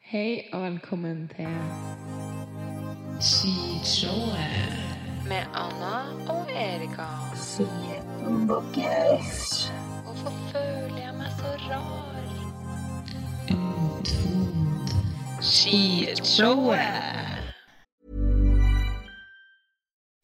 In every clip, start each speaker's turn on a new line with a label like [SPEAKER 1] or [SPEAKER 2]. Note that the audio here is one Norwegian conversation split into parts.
[SPEAKER 1] Hei og velkommen til Skishowet med Anna og Erika. Hvorfor føler jeg meg så rar? Skishowet.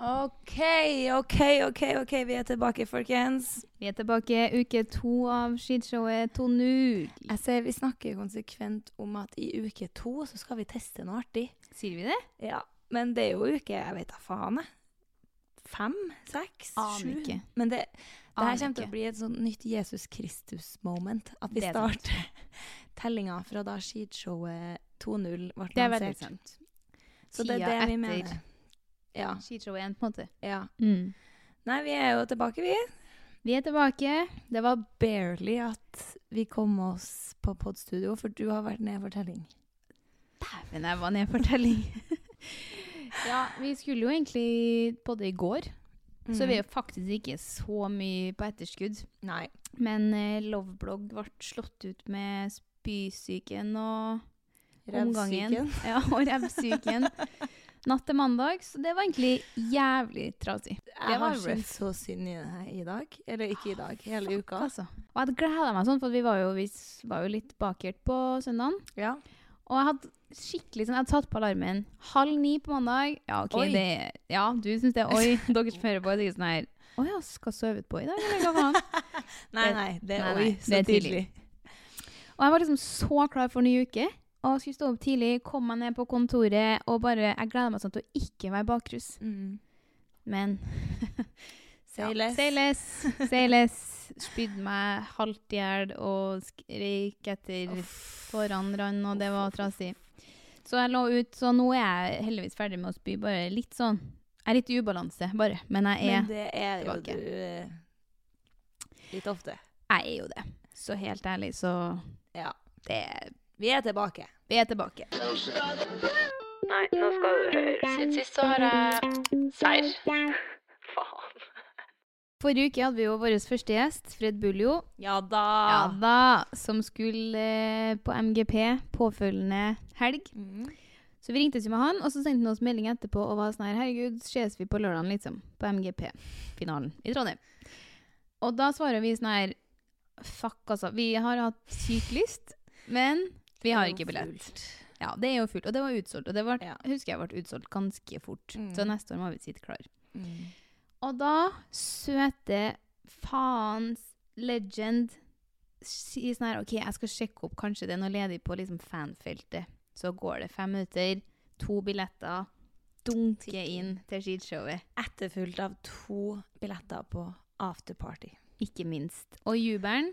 [SPEAKER 2] OK, OK, OK, ok, vi er tilbake, folkens.
[SPEAKER 3] Vi er tilbake uke to av skishowet Tonur.
[SPEAKER 2] Jeg ser Vi snakker konsekvent om at i uke to så skal vi teste noe artig.
[SPEAKER 3] Sier vi det?
[SPEAKER 2] Ja, Men det er jo uke jeg vet da faen. jeg. Fem? Seks?
[SPEAKER 3] Aner
[SPEAKER 2] sju?
[SPEAKER 3] ikke.
[SPEAKER 2] Men det, det her
[SPEAKER 3] Aner
[SPEAKER 2] kommer til
[SPEAKER 3] ikke.
[SPEAKER 2] å bli et sånt nytt Jesus Kristus-moment. At vi
[SPEAKER 3] Det er sant.
[SPEAKER 2] starter tellinga fra da skishowet 2.0 ble
[SPEAKER 3] Det er veldig
[SPEAKER 2] lansert.
[SPEAKER 3] sant.
[SPEAKER 2] Så det er det vi mener. Mm. Ja,
[SPEAKER 3] skishowet igjen, på en måte.
[SPEAKER 2] ja. Nei, vi er jo tilbake, vi.
[SPEAKER 3] Vi er tilbake.
[SPEAKER 2] Det var barely at vi kom oss på podstudio, for du har vært ned for telling.
[SPEAKER 3] Dæven, jeg var ned i fortelling. ja, vi skulle jo egentlig på det i går, Mm. så vi er jo faktisk ikke så mye på etterskudd.
[SPEAKER 2] Mm. Nei.
[SPEAKER 3] Men eh, Loveblogg ble slått ut med spysyken og omgangen. Ja, og revsyken. Natt til mandag, så det var egentlig jævlig trasig.
[SPEAKER 2] Jeg
[SPEAKER 3] var
[SPEAKER 2] har
[SPEAKER 3] rough.
[SPEAKER 2] skjønt så synd i det her i dag. Eller ikke i dag, hele
[SPEAKER 3] Fuck,
[SPEAKER 2] uka.
[SPEAKER 3] Altså. Og jeg gleda meg sånn, for vi var jo, vi s- var jo litt bakert på søndagen.
[SPEAKER 2] Ja.
[SPEAKER 3] Og jeg hadde skikkelig sånn, jeg hadde tatt på alarmen halv ni på mandag. Ja, ok,
[SPEAKER 2] Oi.
[SPEAKER 3] det Ja, du syns det er oi. Dere som hører på, det er sånn her Å ja, skal sove på i dag, eller hva faen?
[SPEAKER 2] Nei, nei, det
[SPEAKER 3] Nei,
[SPEAKER 2] er
[SPEAKER 3] nei,
[SPEAKER 2] oi, så
[SPEAKER 3] det er tidlig.
[SPEAKER 2] tidlig.
[SPEAKER 3] Og jeg var liksom så klar for ny uke. Og skulle stå opp tidlig, kom meg ned på kontoret og bare Jeg gleda meg sånn til å ikke være bakrus.
[SPEAKER 2] Mm.
[SPEAKER 3] Men
[SPEAKER 2] Say less.
[SPEAKER 3] Say less. Say less. Spydde meg halvt i hjel og skrek etter tårene rant, og det var trasig. Så jeg lå ut, så nå er jeg heldigvis ferdig med å spy. Bare litt sånn Jeg er litt i ubalanse, bare. Men jeg er,
[SPEAKER 2] Men det er jo
[SPEAKER 3] tilbake.
[SPEAKER 2] du eh, litt ofte.
[SPEAKER 3] jeg er jo det. Så helt ærlig, så
[SPEAKER 2] Ja.
[SPEAKER 3] det
[SPEAKER 2] Vi er tilbake.
[SPEAKER 3] Vi er tilbake.
[SPEAKER 1] Nei, nå skal du høre. Siden sist så har jeg serr. eh, Faen.
[SPEAKER 3] Forrige uke hadde vi jo vår første gjest, Fred Buljo.
[SPEAKER 2] Ja da.
[SPEAKER 3] Ja da, som skulle eh, på MGP påfølgende helg.
[SPEAKER 2] Mm.
[SPEAKER 3] Så vi ringtes jo med han, og så sendte han oss melding etterpå og var sånn her Herregud, ses vi på lørdagen, liksom? På MGP-finalen i Trondheim. Og da svarer vi sånn her Fuck, altså. Vi har hatt syk lyst, men vi har ikke billett. Ja, det er jo fullt. Og det var utsolgt. Og det var,
[SPEAKER 2] Ja.
[SPEAKER 3] husker jeg ble utsolgt ganske fort.
[SPEAKER 2] Mm.
[SPEAKER 3] Så neste år må vi sitte klar.
[SPEAKER 2] Mm.
[SPEAKER 3] Og da søte faens legend sier sånn her OK, jeg skal sjekke opp. Kanskje det er noe ledig på liksom fanfeltet. Så går det fem minutter, to billetter, dunker inn til skishowet.
[SPEAKER 2] Etterfulgt av to billetter på afterparty.
[SPEAKER 3] Ikke minst. Og jubelen,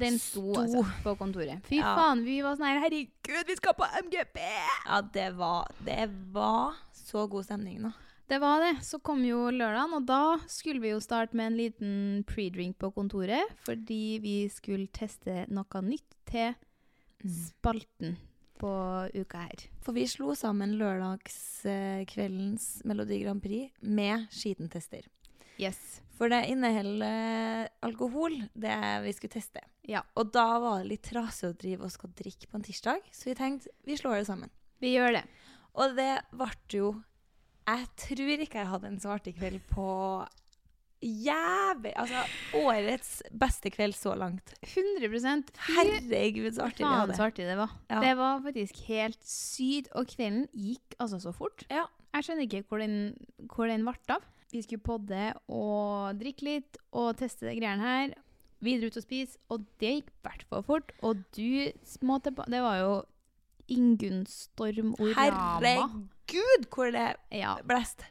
[SPEAKER 3] den sto,
[SPEAKER 2] Sto.
[SPEAKER 3] altså på kontoret. Fy
[SPEAKER 2] Ja.
[SPEAKER 3] faen, vi var sånn her Herregud, vi skal på MGP!
[SPEAKER 2] Ja, det var, det var så god stemning nå.
[SPEAKER 3] Det var det. Så kom jo lørdagen, og da skulle vi jo starte med en liten pre-drink på kontoret, fordi vi skulle teste noe nytt til Mm. spalten på uka her.
[SPEAKER 2] For vi slo sammen lørdagskveldens Melodi Grand Prix med skitentester.
[SPEAKER 3] Yes.
[SPEAKER 2] For det inneholder alkohol, det vi skulle teste.
[SPEAKER 3] Ja.
[SPEAKER 2] Og da var det litt trasig å drive og skal drikke på en tirsdag, så vi tenkte vi slår det sammen.
[SPEAKER 3] Vi gjør det.
[SPEAKER 2] Og det ble jo Jeg tror ikke jeg hadde en svartekveld på jævlig Altså årets beste kveld så langt.
[SPEAKER 3] 100 Fy
[SPEAKER 2] Herregud, så artig vi
[SPEAKER 3] faen
[SPEAKER 2] hadde.
[SPEAKER 3] så artig det var.
[SPEAKER 2] Ja.
[SPEAKER 3] Det var faktisk helt sykt, og kvelden gikk altså så fort.
[SPEAKER 2] Ja.
[SPEAKER 3] Jeg skjønner ikke hvor den, hvor den ble av. Vi skulle podde og drikke litt og teste de greiene her. Videre ut og spise, og det gikk i hvert fall fort. Og du små tilbake Det var jo Ingunn Storm Orama.
[SPEAKER 2] Herregud, hvor det
[SPEAKER 3] Ja.
[SPEAKER 2] blest.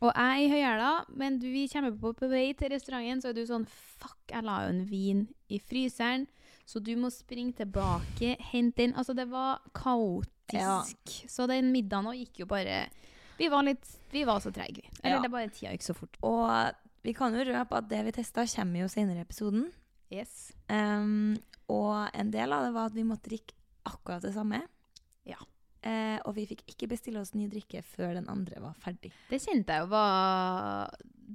[SPEAKER 3] Og jeg i høyhæla, men du, vi kommer på på vei til restauranten, så er du sånn Fuck, jeg la jo en vin i fryseren, så du må springe tilbake, hente den Altså, det var kaotisk.
[SPEAKER 2] Ja.
[SPEAKER 3] Så den middagen òg gikk jo bare Vi var litt Vi var så treige, vi. Eller
[SPEAKER 2] Ja.
[SPEAKER 3] det bare tida gikk så fort.
[SPEAKER 2] Og vi kan jo røpe at det vi testa, kommer jo senere i episoden.
[SPEAKER 3] Yes.
[SPEAKER 2] Um, og en del av det var at vi måtte drikke akkurat det samme.
[SPEAKER 3] Ja.
[SPEAKER 2] Eh, og vi fikk ikke bestille oss ny drikke før den andre var ferdig.
[SPEAKER 3] Det kjente jeg jo var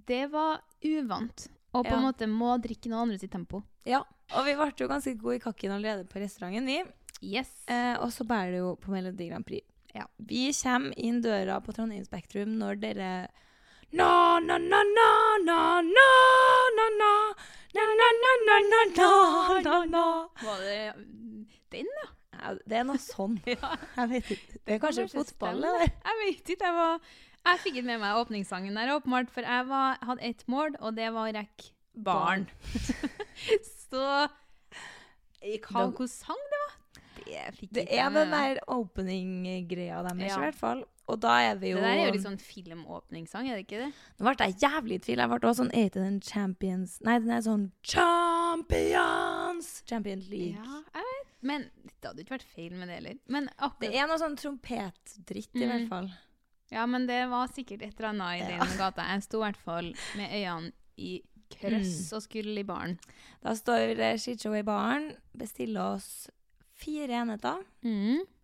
[SPEAKER 3] Det var uvant. Og på
[SPEAKER 2] Ja.
[SPEAKER 3] en måte må drikke noen andres i tempo.
[SPEAKER 2] Ja, Og vi ble jo ganske gode i kakken allerede på restauranten, vi.
[SPEAKER 3] Yes.
[SPEAKER 2] Eh, og så bærer det jo på Melodi Grand Prix.
[SPEAKER 3] Ja.
[SPEAKER 2] Vi kommer inn døra på Trondheim Spektrum når dere Na, na, na, na, na, na, na, na. Na, na, na, na, na, na, na, na.
[SPEAKER 3] Var det den, ja?
[SPEAKER 2] Ja, Det er noe sånn. Jeg vet ikke. Det er kanskje fotball,
[SPEAKER 3] stemmer.
[SPEAKER 2] eller?
[SPEAKER 3] Jeg vet ikke. Jeg, var, jeg fikk ikke med meg åpningssangen der, åpenbart, for jeg var, hadde ett mål, og det var å rekke barn. Så hva,
[SPEAKER 2] Da-
[SPEAKER 3] Hvilken sang det var? Det fikk
[SPEAKER 2] Det
[SPEAKER 3] ikke
[SPEAKER 2] er
[SPEAKER 3] jeg med
[SPEAKER 2] den
[SPEAKER 3] meg.
[SPEAKER 2] der opening-greia deres,
[SPEAKER 3] Ja.
[SPEAKER 2] i hvert fall. Og da er vi jo,
[SPEAKER 3] Det der er jo litt sånn filmåpningssang, er det ikke det?
[SPEAKER 2] Nå ble jeg jævlig i tvil. Jeg ble også sånn Er ikke den Champions Nei, den er sånn Champions! Champions League.
[SPEAKER 3] Ja, jeg vet. Men det hadde ikke vært feil med det heller. Men,
[SPEAKER 2] Det
[SPEAKER 3] akkurat,
[SPEAKER 2] er noe sånn trompetdritt, i
[SPEAKER 3] Mm.
[SPEAKER 2] hvert fall.
[SPEAKER 3] ja, men det var sikkert et eller annet i den gata. Jeg sto i hvert fall med øynene i krøss
[SPEAKER 2] Mm.
[SPEAKER 3] og skulle i baren.
[SPEAKER 2] Da står det Shitshow i baren, bestiller oss fire enheter.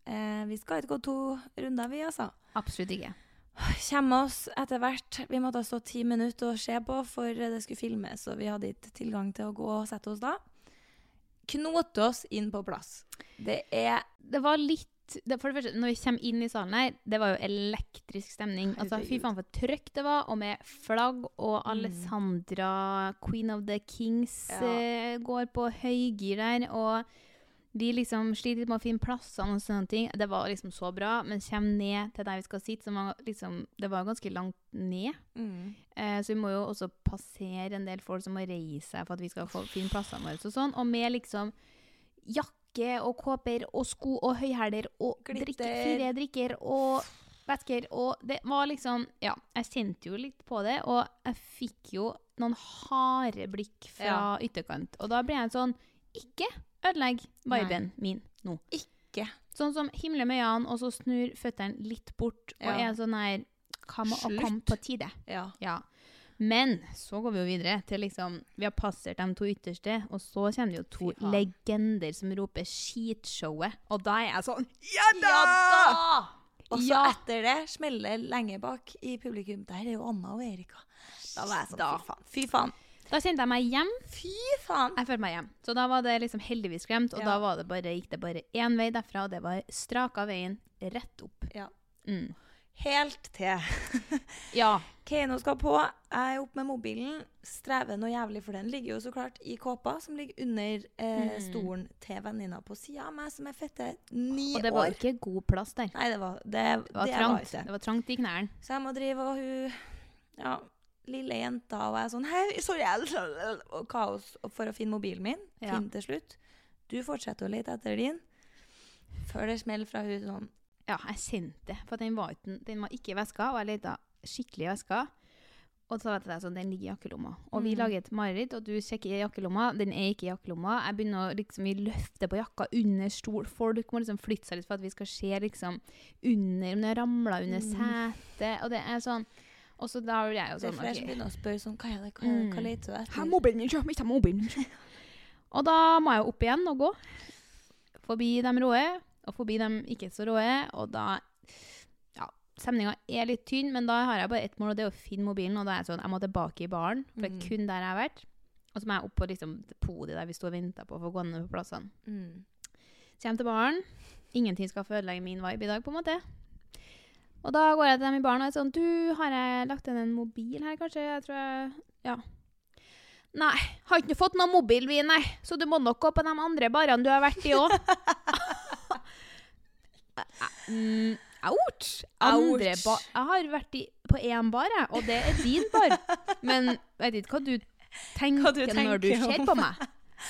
[SPEAKER 2] Eh, vi skal ikke gå to runder, vi, altså.
[SPEAKER 3] Absolutt ikke.
[SPEAKER 2] Kommer oss etter hvert. Vi måtte stå ti minutter og se på, for det skulle filmes, og vi hadde ikke tilgang til å gå og sette oss da. Knote oss inn på plass. Det er
[SPEAKER 3] det var litt det, For det første, når vi kommer inn i salen her, det var jo elektrisk stemning. Altså, Fy faen for trøkk det var, og med flagg og Alessandra, Queen of the Kings,
[SPEAKER 2] Ja.
[SPEAKER 3] eh, går på høygir der. Og vi liksom sliter litt med å finne plassene og sånne ting. Det var liksom så bra, men kommer ned til der vi skal sitte, som var liksom Det var ganske langt ned. Eh, så vi må jo også passere en del folk som må reise seg for at vi skal få finne plassene våre. Og sånn. Og med liksom jakke og kåper og sko og høyhæler og
[SPEAKER 2] Glitter.
[SPEAKER 3] drikke, fire drikker og væsker og Det var liksom Ja, jeg kjente jo litt på det, og jeg fikk jo noen harde blikk fra ytterkant. Og da ble jeg sånn Ikke ødelegg viben min nå.
[SPEAKER 2] ikke
[SPEAKER 3] Sånn som himler med øynene, og så snur føttene litt bort, og
[SPEAKER 2] Ja.
[SPEAKER 3] er sånn her Hva med å
[SPEAKER 2] Slutt.
[SPEAKER 3] komme på tide?
[SPEAKER 2] Ja.
[SPEAKER 3] Ja. Men så går vi jo videre til liksom Vi har passert de to ytterste, og så kommer det jo to
[SPEAKER 2] faen.
[SPEAKER 3] legender som roper 'skitshowet'. Og da er jeg sånn Ja da!
[SPEAKER 2] Ja da! Og så
[SPEAKER 3] Ja.
[SPEAKER 2] etter det smeller det lenge bak i publikum. Der er jo Anna og Erika. Da var jeg sånn Fy faen. Fy faen.
[SPEAKER 3] Da kjente jeg meg hjem.
[SPEAKER 2] Fy faen.
[SPEAKER 3] Jeg følte meg hjem. Så da var det liksom heldigvis glemt, og
[SPEAKER 2] Ja.
[SPEAKER 3] da var det bare, gikk det bare én vei derfra, og det var straka veien rett opp.
[SPEAKER 2] Ja.
[SPEAKER 3] Mm.
[SPEAKER 2] Helt til.
[SPEAKER 3] Ja.
[SPEAKER 2] Keiino skal på. Jeg er oppe med mobilen. Strever noe jævlig, for den ligger jo så klart i kåpa, som ligger under eh,
[SPEAKER 3] Mm.
[SPEAKER 2] stolen til venninna på sida av meg, som er fette ni
[SPEAKER 3] Og det var
[SPEAKER 2] år.
[SPEAKER 3] ikke god plass der.
[SPEAKER 2] Nei, det var Det,
[SPEAKER 3] Det var
[SPEAKER 2] det
[SPEAKER 3] trangt.
[SPEAKER 2] ikke.
[SPEAKER 3] det var trangt i knærne.
[SPEAKER 2] Så jeg må drive og hun Ja, lille jenta og jeg er sånn Hei, sorry, jeg Og kaos for å finne mobilen min.
[SPEAKER 3] Ja.
[SPEAKER 2] Finn til slutt. Du fortsetter å lete etter din. Før det smeller fra hun sånn
[SPEAKER 3] Ja, jeg kjente det. For den var, uten, den var ikke i veska, og jeg leta skikkelig i veska. Og så vet jeg sånn, den ligger i jakkelomma. Og
[SPEAKER 2] Mm.
[SPEAKER 3] vi lager et mareritt, og du sjekker i jakkelomma. Den er ikke i jakkelomma. Jeg begynner å liksom, vi løfter på jakka under stol. Folk må liksom flytte seg litt for at vi skal se liksom under, om den ramla under setet. Og det er sånn Og så da var jeg jo
[SPEAKER 2] Mm. Det er
[SPEAKER 3] sånn
[SPEAKER 2] flere som
[SPEAKER 3] ok.
[SPEAKER 2] begynner å spørre sånn, hva er det, hva, hva
[SPEAKER 3] Mm.
[SPEAKER 2] leter du
[SPEAKER 3] Ta
[SPEAKER 2] etter?
[SPEAKER 3] mobilen din, kjøp, ikke ta mobilen din, kjøp. Og da må jeg jo opp igjen og gå. Forbi de råe, og forbi de ikke så råe. Og da Ja, stemninga er litt tynn, men da har jeg bare ett mål, og det er å finne mobilen. Og da er jeg sånn Jeg må tilbake i baren, for det er
[SPEAKER 2] Mm.
[SPEAKER 3] kun der jeg har vært. Og så må jeg opp på liksom, det podiet der vi sto og venta på for å gå ned på plassene.
[SPEAKER 2] Mm.
[SPEAKER 3] Så jeg kommer til baren. Ingenting skal få ødelegge min vibe i dag, på en måte. Og da går jeg til dem i baren og er sånn Du, har jeg lagt igjen en mobil her, kanskje? Jeg tror jeg Ja. Nei, har ikke fått noen mobil, vi, nei. Så du må nok gå på de andre barene du har vært i òg. mm, ouch! Andre
[SPEAKER 2] Ouch.
[SPEAKER 3] bar Jeg har vært i, på én bar, jeg, og det er din bar. Men jeg vet ikke hva du tenker,
[SPEAKER 2] Hva du
[SPEAKER 3] når du
[SPEAKER 2] tenker
[SPEAKER 3] ser
[SPEAKER 2] om-
[SPEAKER 3] på meg.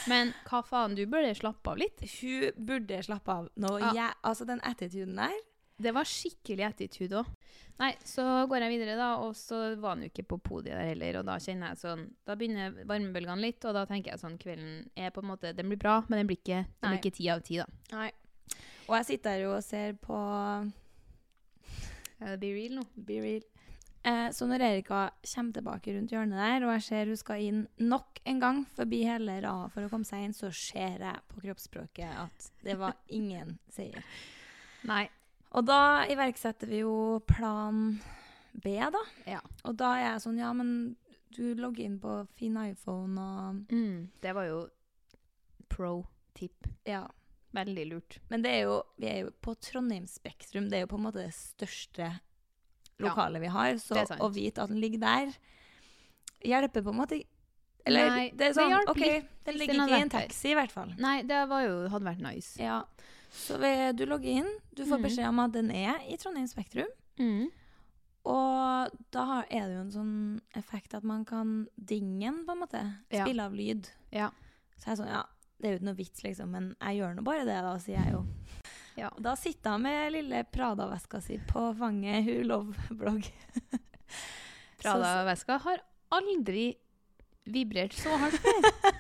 [SPEAKER 3] Men hva faen, du burde slappe av litt.
[SPEAKER 2] Hun burde slappe av nå.
[SPEAKER 3] Ja.
[SPEAKER 2] Jeg, altså, den attituden der
[SPEAKER 3] Det var skikkelig attitude òg. Nei, så går jeg videre, da, og så var han jo ikke på podiet der heller. Og da kjenner jeg sånn Da begynner varmebølgene litt, og da tenker jeg sånn Kvelden er på en måte Den blir bra, men den blir ikke, den
[SPEAKER 2] Nei.
[SPEAKER 3] blir ikke ti av ti, da.
[SPEAKER 2] Nei. Og jeg sitter her jo og ser på
[SPEAKER 3] Be real nå.
[SPEAKER 2] Be real. Eh, så når Erika kommer tilbake rundt hjørnet der, og jeg ser hun skal inn nok en gang forbi hele rada for å komme seg inn, så ser jeg på kroppsspråket at det var ingen seier.
[SPEAKER 3] Nei.
[SPEAKER 2] Og da iverksetter vi jo plan B, da.
[SPEAKER 3] Ja.
[SPEAKER 2] Og da er jeg sånn, ja, men du logger inn på fin iPhone og
[SPEAKER 3] Mm, det var jo pro tip.
[SPEAKER 2] Ja.
[SPEAKER 3] Veldig lurt.
[SPEAKER 2] Men det er jo, vi er jo på Trondheim Spektrum. Det er jo på en måte det største lokalet vi har. Så
[SPEAKER 3] det er sant.
[SPEAKER 2] å vite at den ligger der, hjelper på en måte ikke. Eller
[SPEAKER 3] Nei,
[SPEAKER 2] det er
[SPEAKER 3] det
[SPEAKER 2] sånn,
[SPEAKER 3] hjalp
[SPEAKER 2] OK,
[SPEAKER 3] litt
[SPEAKER 2] den
[SPEAKER 3] hvis
[SPEAKER 2] ligger
[SPEAKER 3] den hadde
[SPEAKER 2] ikke i en
[SPEAKER 3] vært der.
[SPEAKER 2] taxi, i hvert fall.
[SPEAKER 3] Nei, det var jo, hadde vært nice.
[SPEAKER 2] Ja. Så ved, du logger inn, du får
[SPEAKER 3] Mhm.
[SPEAKER 2] beskjed om at den er i Trondheim Spektrum.
[SPEAKER 3] Mm.
[SPEAKER 2] Og da har- er det jo en sånn effekt at man kan dingen, på en måte.
[SPEAKER 3] Ja.
[SPEAKER 2] Spille av lyd.
[SPEAKER 3] Ja.
[SPEAKER 2] Så jeg er sånn, ja, det er jo ikke noe vits, liksom, men jeg gjør nå bare det, da, sier jeg jo.
[SPEAKER 3] Ja.
[SPEAKER 2] Og Da sitter hun med lille Prada-veska si på fanget, hun Love-blogg.
[SPEAKER 3] Prada-veska har aldri vibrert så hardt før.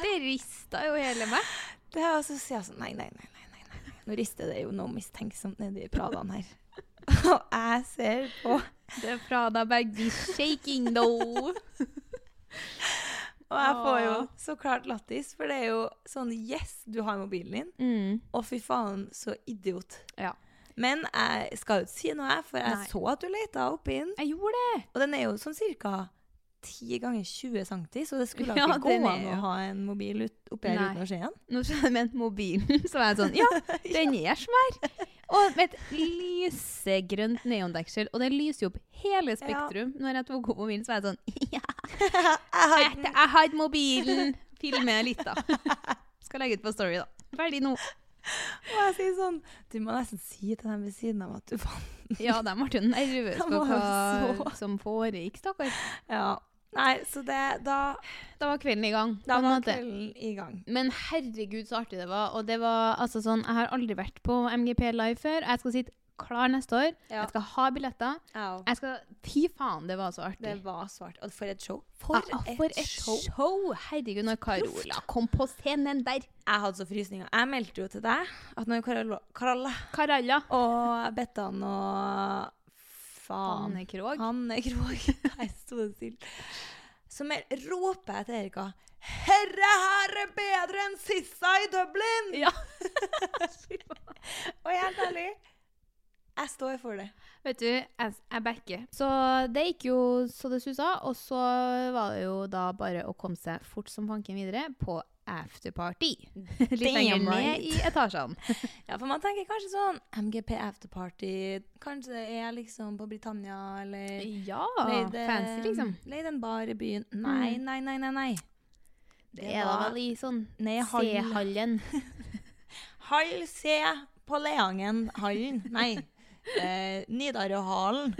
[SPEAKER 3] Det rista jo hele meg.
[SPEAKER 2] Det er altså, sier jeg sånn, nei, nei, nei, nei, nei, nei, nei. Nå rister det jo noe mistenksomt nedi Pradaen her. Og jeg ser på,
[SPEAKER 3] The Prada bag be shaking though.
[SPEAKER 2] og jeg får jo
[SPEAKER 3] Åh.
[SPEAKER 2] så klart lattis, for det er jo sånn, yes, du har mobilen din.
[SPEAKER 3] Mm.
[SPEAKER 2] Å fy faen, så idiot.
[SPEAKER 3] Ja.
[SPEAKER 2] Men jeg skal jo ikke si noe, jeg, for jeg
[SPEAKER 3] Nei.
[SPEAKER 2] så at du leta oppi den.
[SPEAKER 3] Jeg gjorde det!
[SPEAKER 2] Og den er jo sånn cirka 10 ganger 20 cm, så det skulle
[SPEAKER 3] Ja,
[SPEAKER 2] ikke gå
[SPEAKER 3] den er
[SPEAKER 2] an å
[SPEAKER 3] jo-
[SPEAKER 2] ha en mobil ut, oppi her
[SPEAKER 3] Nei.
[SPEAKER 2] uten å se den.
[SPEAKER 3] Nå skjønner jeg mente mobilen. Så var jeg sånn Ja, den er svær! Og med et lysegrønt neondeksel. Og det lyser jo opp hele Spektrum. Når jeg tok opp mobilen, så var jeg sånn Ja!
[SPEAKER 2] Jeg har
[SPEAKER 3] Jeg jeg hadde mobilen! Filmer litt, da. Skal legge ut på Story, da. Ferdig nå.
[SPEAKER 2] Og jeg sier sånn Du må nesten si til dem ved siden av at du fant
[SPEAKER 3] Ja, de ble jo nervøse
[SPEAKER 2] De
[SPEAKER 3] på
[SPEAKER 2] var jo
[SPEAKER 3] hva
[SPEAKER 2] så-
[SPEAKER 3] som foregikk, stakkar.
[SPEAKER 2] Ja. Nei, så det Da,
[SPEAKER 3] Da var kvelden i gang. på
[SPEAKER 2] da
[SPEAKER 3] en
[SPEAKER 2] var
[SPEAKER 3] måte.
[SPEAKER 2] kvelden i gang.
[SPEAKER 3] Men herregud, så artig det var. Og det var altså sånn, Jeg har aldri vært på MGP Live før. Jeg skal sitte klar neste år.
[SPEAKER 2] Ja.
[SPEAKER 3] Jeg skal ha billetter.
[SPEAKER 2] Au.
[SPEAKER 3] Jeg skal, Fy faen, det var så artig.
[SPEAKER 2] Det var svart. Og for et show. For,
[SPEAKER 3] Ja, Ah, for et show. Herregud, når Carola kom på scenen der.
[SPEAKER 2] Jeg hadde så frysninger. Jeg meldte jo til deg at når Karola, Karola
[SPEAKER 3] Caralla.
[SPEAKER 2] og Bettan og Faen
[SPEAKER 3] Hanne Krogh.
[SPEAKER 2] Hanne Krogh. Nei, sto det stille. Så mer roper jeg til Erika Herre her er bedre enn Sissa i Dublin!
[SPEAKER 3] Ja.
[SPEAKER 2] Og helt ærlig, jeg står for det.
[SPEAKER 3] Vet du, jeg, jeg backer. Så det gikk jo så det susa, og så var det jo da bare å komme seg fort som fanken videre på afterparty. Litt lenger
[SPEAKER 2] Damn right.
[SPEAKER 3] ned i etasjene.
[SPEAKER 2] Ja, for man tenker kanskje sånn MGP afterparty, kanskje det er liksom på Britannia, eller
[SPEAKER 3] Ja,
[SPEAKER 2] leid, eh,
[SPEAKER 3] Ah, fancy, liksom. Mm.
[SPEAKER 2] Leid en bar i byen. Nei, nei, nei, nei, nei.
[SPEAKER 3] Det er da vel i sånn
[SPEAKER 2] Nei, hall.
[SPEAKER 3] C-hallen.
[SPEAKER 2] Hall C på Leangenhallen. Nei, eh, Nidarøhallen.